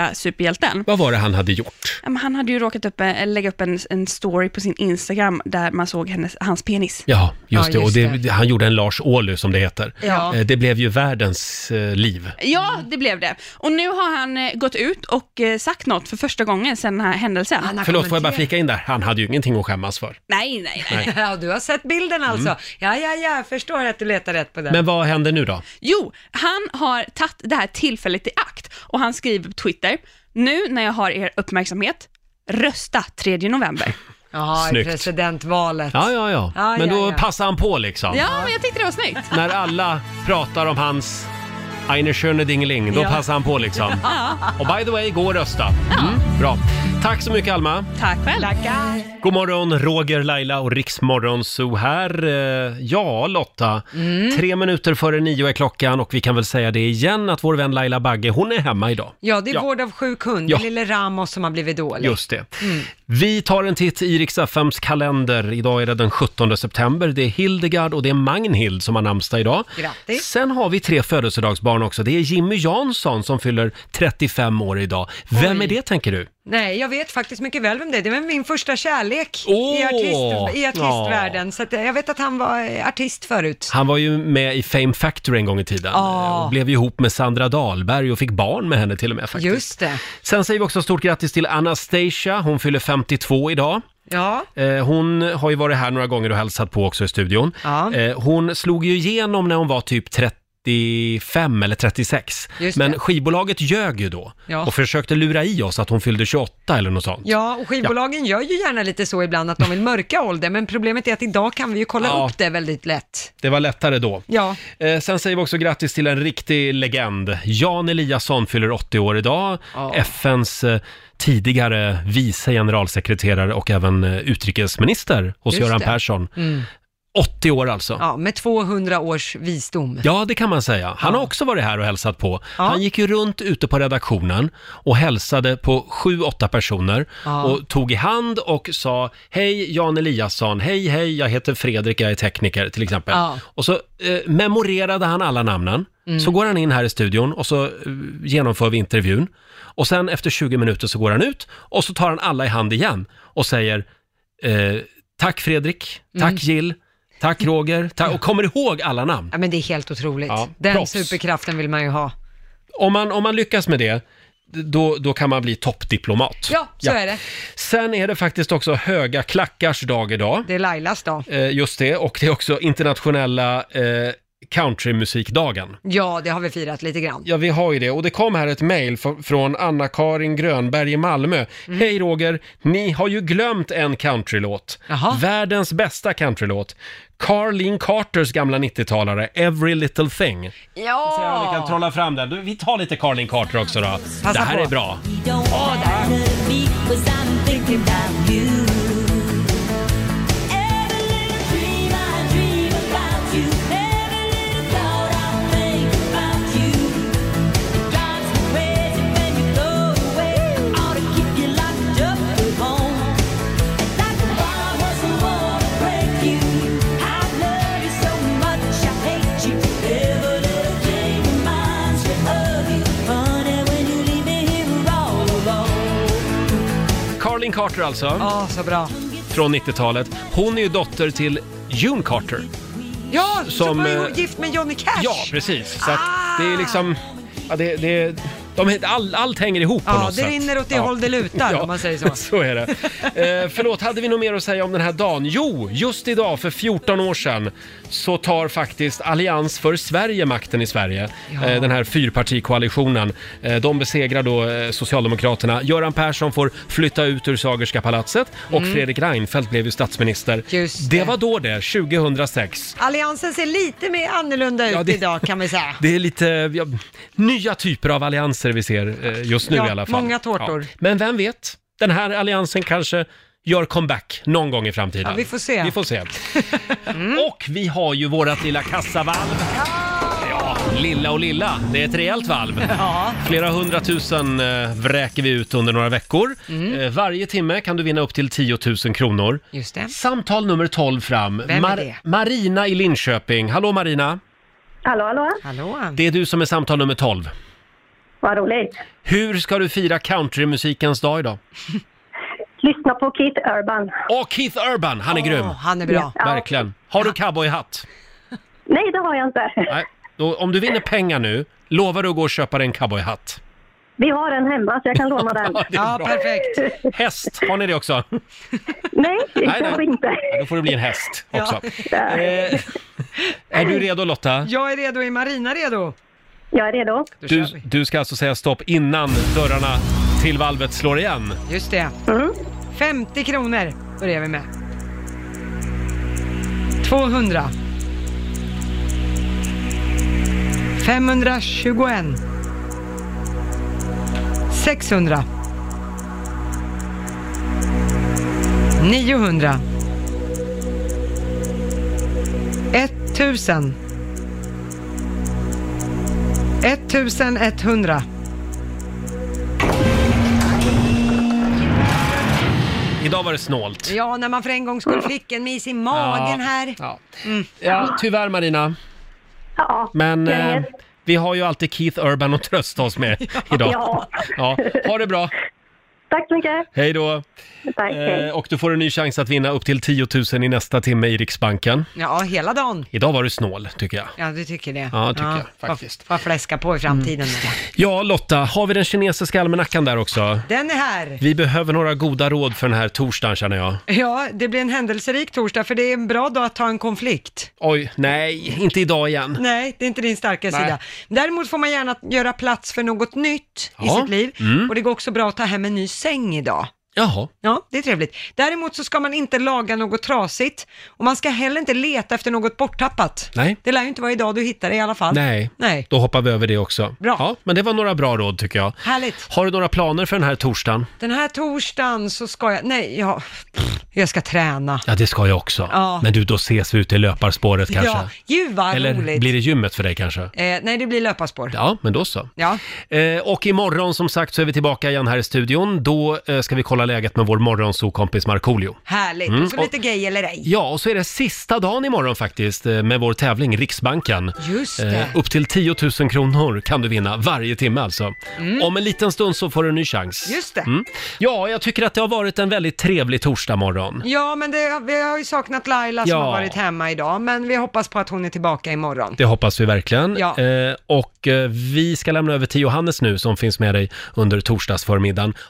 S7: America-superhjälten.
S1: Vad var det han hade gjort?
S7: Ja, men Han hade ju råkat upp, eh, lägga upp en, en story på sin Instagram där man såg hennes, hans penis.
S1: Ja, just det. Och det, han gjorde en Lars Ohly som det heter.
S7: Ja.
S1: Eh, Det blev ju världens eh, liv.
S7: Ja, det blev det. Och nu har han eh, gått ut och eh, sagt något för första gången sedan den här händelsen.
S2: Ah,
S1: Förlåt, får jag bara flika in där? Han hade ju ingenting att skämmas för.
S7: Nej, nej,
S1: Nej.
S7: nej.
S2: Ja, du har sett bilden
S1: alltså. Mm.
S2: Ja, ja, ja, jag förstår att du letar rätt på den.
S1: Men vad händer nu då?
S7: Jo, han har tagit det här tillfället i akt och han skriver på Twitter, nu när jag har er uppmärksamhet, rösta 3 november.
S2: Jaha, i
S1: Snyggt.
S2: presidentvalet.
S1: Ja, ja, ja.
S2: Ja,
S1: Men
S2: ja,
S1: då
S2: ja.
S1: passar han på liksom.
S7: Ja, men jag tyckte det var snyggt.
S1: När alla pratar om hans Eine schöne Dingeling, då
S7: Ja.
S1: passar han på liksom. Och by the way, gå och rösta. Mm, bra. Tack så mycket Alma.
S7: Tack själv.
S1: God morgon, Roger, Laila och Riksmorgon så här. Eh, Ja, Lotta.
S2: Mm.
S1: Tre minuter före nio är klockan och vi kan väl säga det igen att vår vän Laila Bagge, hon är hemma idag.
S2: Ja, det är vård av sjuk hund,
S1: Ja.
S2: den lille Ramos som har blivit dålig.
S1: Just det.
S2: Mm.
S1: Vi tar en titt i Rix FMs kalender. Idag är det den 17 september. Det är Hildegard och det är Magnhild som har namnsdag idag.
S2: Grattis.
S1: Sen har vi tre födelsedagsbarn också. Det är Jimmy Jansson som fyller 35 år idag. Vem är det tänker du?
S2: Nej, jag vet faktiskt mycket väl vem det är. Det var min första kärlek i, artist, i artistvärlden. Så att, eh, jag vet att han var eh, artist förut.
S1: Han var ju med i Fame Factory en gång i tiden eh,
S2: Ja.
S1: och blev ju ihop med Sandra Dahlberg och fick barn med henne till och med faktiskt.
S2: Just det.
S1: Sen säger vi också stort grattis till Anastasia, hon fyller 52 idag.
S2: Ja.
S1: Eh, Hon har ju varit här några gånger och hälsat på också i studion.
S2: Ja.
S1: Eh, Hon slog ju igenom när hon var typ 35 eller 36.
S2: Just det.
S1: Men skivbolaget ljög ju då
S2: Ja.
S1: och försökte lura i oss att hon fyllde 28 eller något sånt.
S2: Ja, och skivbolagen gör ju gärna lite så ibland att de vill mörka ålder, men problemet är att idag kan vi ju kolla
S1: Ja.
S2: upp det väldigt lätt.
S1: Det var lättare då.
S2: Ja.
S1: Eh, sen säger vi också grattis till en riktig legend. Jan Eliasson fyller 80 år idag.
S2: Ja.
S1: FNs eh, tidigare vice generalsekreterare och även eh, utrikesminister hos
S2: Just
S1: Göran
S2: det.
S1: Persson.
S2: Mm.
S1: 80 år alltså. Ja.
S2: Ja, med 200 års visdom.
S1: det kan man säga. Han har också varit här och hälsat på. Han gick ju runt ute på redaktionen och hälsade på sju, åtta personer
S2: Ja.
S1: och tog i hand och sa Hej Jan Eliasson, hej hej, jag heter Fredrik, jag är tekniker till exempel.
S2: Ja. Mm.
S1: Och så eh, memorerade han alla namnen. Så går han in här i studion och så eh, genomför vi intervjun. Och sen efter 20 minuter så går han ut och så tar han alla i hand igen och säger eh, Tack Fredrik, tack
S2: Mm.
S1: Jill, tack Roger, tack, och kommer ihåg alla namn.
S2: Ja, men det är helt otroligt.
S1: Ja,
S2: Den
S1: proffs.
S2: superkraften vill man ju ha.
S1: Om man, om man lyckas med det, då, då kan man bli toppdiplomat.
S2: Ja, så är det.
S1: Sen är det faktiskt också höga klackars dag idag.
S2: Det är Lailas dag.
S1: Eh, just det, och det är också internationella eh, countrymusikdagen.
S2: Ja, det har vi firat lite grann.
S1: Ja, vi har ju det. Och det kom här ett mejl f- från Anna-Karin Grönberg i Malmö.
S2: Mm.
S1: Hej Roger, ni har ju glömt en countrylåt. Världens bästa countrylåt. Carlene Carters gamla 90-talare, Every Little Thing.
S2: Ja!
S1: Vi kan trolla fram den. Du, Vi tar lite Carlene Carter också då. det här
S8: på.
S1: är bra.
S8: Don't wanna be, 'cause I'm thinking about you. Every little dream I dream about you. Every little thought I think about you. Drives me crazy when you go away. Oughta keep you locked up at home. And like a bomb doesn't wanna break you. I love you so much, I hate you. Every little thing reminds me of you. Funny when you leave me here all alone.
S1: Carlene Carter alltså. Ja,
S2: så bra.
S1: Från 90-talet. Hon är ju dotter till June Carter.
S2: Ja,
S1: Som,
S2: som, var ju
S1: eh,
S2: gift med Johnny Cash.
S1: Ja, precis. Så att det
S2: Ah.
S1: är liksom... Ja, det, det, de, all, allt hänger ihop på
S2: Ja,
S1: något
S2: det
S1: sätt.
S2: rinner åt det håll det lutar, om man säger så.
S1: så är det. Eh, förlåt, hade vi något mer att säga om den här dagen? Jo, just idag för 14 år sedan så tar faktiskt Allians för Sverige makten i Sverige.
S12: Ja.
S1: Eh, den här fyrpartikoalitionen. Eh, de besegrar då eh, Socialdemokraterna. Göran Persson får flytta ut ur Sagerska palatset och
S2: Mm.
S1: Fredrik Reinfeldt blev ju statsminister. det. var då det, 2006.
S2: Alliansen ser lite mer annorlunda ut idag kan vi säga.
S1: Det är lite ja, nya typer av allianser vi ser eh, just nu
S2: Ja,
S1: i alla fall.
S2: många tårtor.
S1: Men vem vet, den här alliansen kanske gör comeback någon gång i framtiden.
S2: Ja, vi får se. Mm.
S1: Vi får se. Och vi har ju vårat lilla kassavalv. Ja, lilla och lilla. Det är ett rejält valv.
S2: Ja.
S1: Flera hundratusen eh, vräker vi ut under några veckor.
S2: Mm.
S1: Eh, varje timme kan du vinna upp till 10 000 kronor.
S2: Just det.
S1: Samtal nummer 12 fram.
S2: Vem är
S1: Mar-
S2: det?
S1: Marina i Linköping. Hallå Marina!
S10: Hallå, hallå.
S2: Hallå.
S1: Det är du som är samtal nummer 12.
S10: Vad roligt.
S1: Hur ska du fira countrymusikens dag idag?
S10: Lyssna på Keith Urban.
S1: Åh, Keith Urban! Han är grym!
S2: Han är
S10: bra. Ja.
S1: Verkligen. Har du cowboyhatt?
S10: Nej, det har jag inte.
S1: Nej. Då, om du vinner pengar nu, lovar du att gå och köpa dig en cowboyhatt?
S10: Vi har en hemma så jag kan låna den.
S1: Ja, det är Ja, bra.
S10: perfekt.
S1: Häst, har ni det också?
S10: Nej,
S1: nej.
S10: kanske inte.
S1: Ja, då får det bli en häst också.
S10: Ja.
S1: Eh, är du redo Lotta?
S2: Jag är redo, är Marina redo?
S10: Jag är redo.
S1: Du, du ska alltså säga stopp innan dörrarna till valvet slår igen.
S2: Just det. 50 kronor börjar vi med. 200. 521. 600. 900. 1000. 1100.
S1: Idag var det snålt.
S2: Ja, när man för en gång skulle fick en mis i magen
S1: Ja,
S2: här.
S1: Ja.
S2: Mm.
S1: Ja, tyvärr Marina.
S10: Ja,
S1: Men
S10: jag vet.
S1: eh, vi har ju alltid Keith Urban att trösta oss med idag.
S10: Ja.
S1: ja. Ha det bra.
S10: Tack så mycket.
S1: Hej då.
S10: Tack.
S1: Eh, och du får en ny chans att vinna upp till 10 000 i nästa timme i Riksbanken.
S2: Ja, hela dagen.
S1: Idag var du snål, tycker jag.
S2: Ja, du tycker det.
S1: Ja, tycker jag, faktiskt. Mm.
S2: Bara fläska på i framtiden. nu.
S1: Ja, Lotta, har vi den kinesiska almanackan där också?
S2: Den är här.
S1: Vi behöver några goda råd för den här torsdagen, känner jag.
S2: Ja, det blir en händelserik torsdag för det är en bra dag att ta en konflikt.
S1: Oj, nej, inte idag igen.
S2: Nej, det är inte din starka
S1: Nej.
S2: sida. Däremot får man gärna göra plats för något nytt i
S1: Ja.
S2: sitt liv.
S1: Mm.
S2: Och det går också bra att ta hem en ny säng idag.
S1: Jaha.
S2: Ja, det är trevligt. Däremot så ska man inte laga något trasigt och man ska heller inte leta efter något borttappat.
S1: Nej.
S2: Det lär ju inte vara idag du hittar det i alla fall.
S1: Nej.
S2: Nej.
S1: Då hoppar vi över det också.
S2: Bra.
S1: Ja, men det var några bra råd, tycker jag.
S2: Härligt.
S1: Har du några planer för den här torsdagen?
S2: Den här torsdagen så ska jag, nej, ja, pff, jag ska träna.
S1: Ja, det ska jag också.
S2: Ja.
S1: Men du, då ses vi ute i löparspåret kanske.
S2: Ja, gud vad
S1: Eller
S2: roligt.
S1: blir det gymmet för dig kanske?
S2: Eh, nej, det blir löparspår.
S1: Ja, men då så.
S2: Ja.
S1: Eh, och imorgon som sagt så är vi tillbaka igen här i studion. Då eh, ska vi kolla läget med vår morgonsokompis Markoolio.
S2: Härligt.
S1: Mm,
S2: Så
S1: och-
S2: lite gay eller ej.
S1: Ja, och så är det sista dagen imorgon faktiskt eh, med vår tävling Riksbanken.
S2: Just det.
S1: Eh, upp till 10 000 kronor kan du vinna varje timme alltså. Om en liten stund så får du en ny chans.
S2: Mm.
S1: Mm.
S2: Just det.
S1: Ja, jag tycker att det har varit en väldigt trevlig torsdagmorgon.
S2: Ja, men det, vi har ju saknat Laila som
S1: Ja.
S2: har varit hemma idag, men vi hoppas på att hon är tillbaka imorgon.
S1: Det hoppas vi verkligen.
S2: Ja.
S1: Eh, och eh, vi ska lämna över till Johannes nu som finns med dig under torsdagsförmiddagen.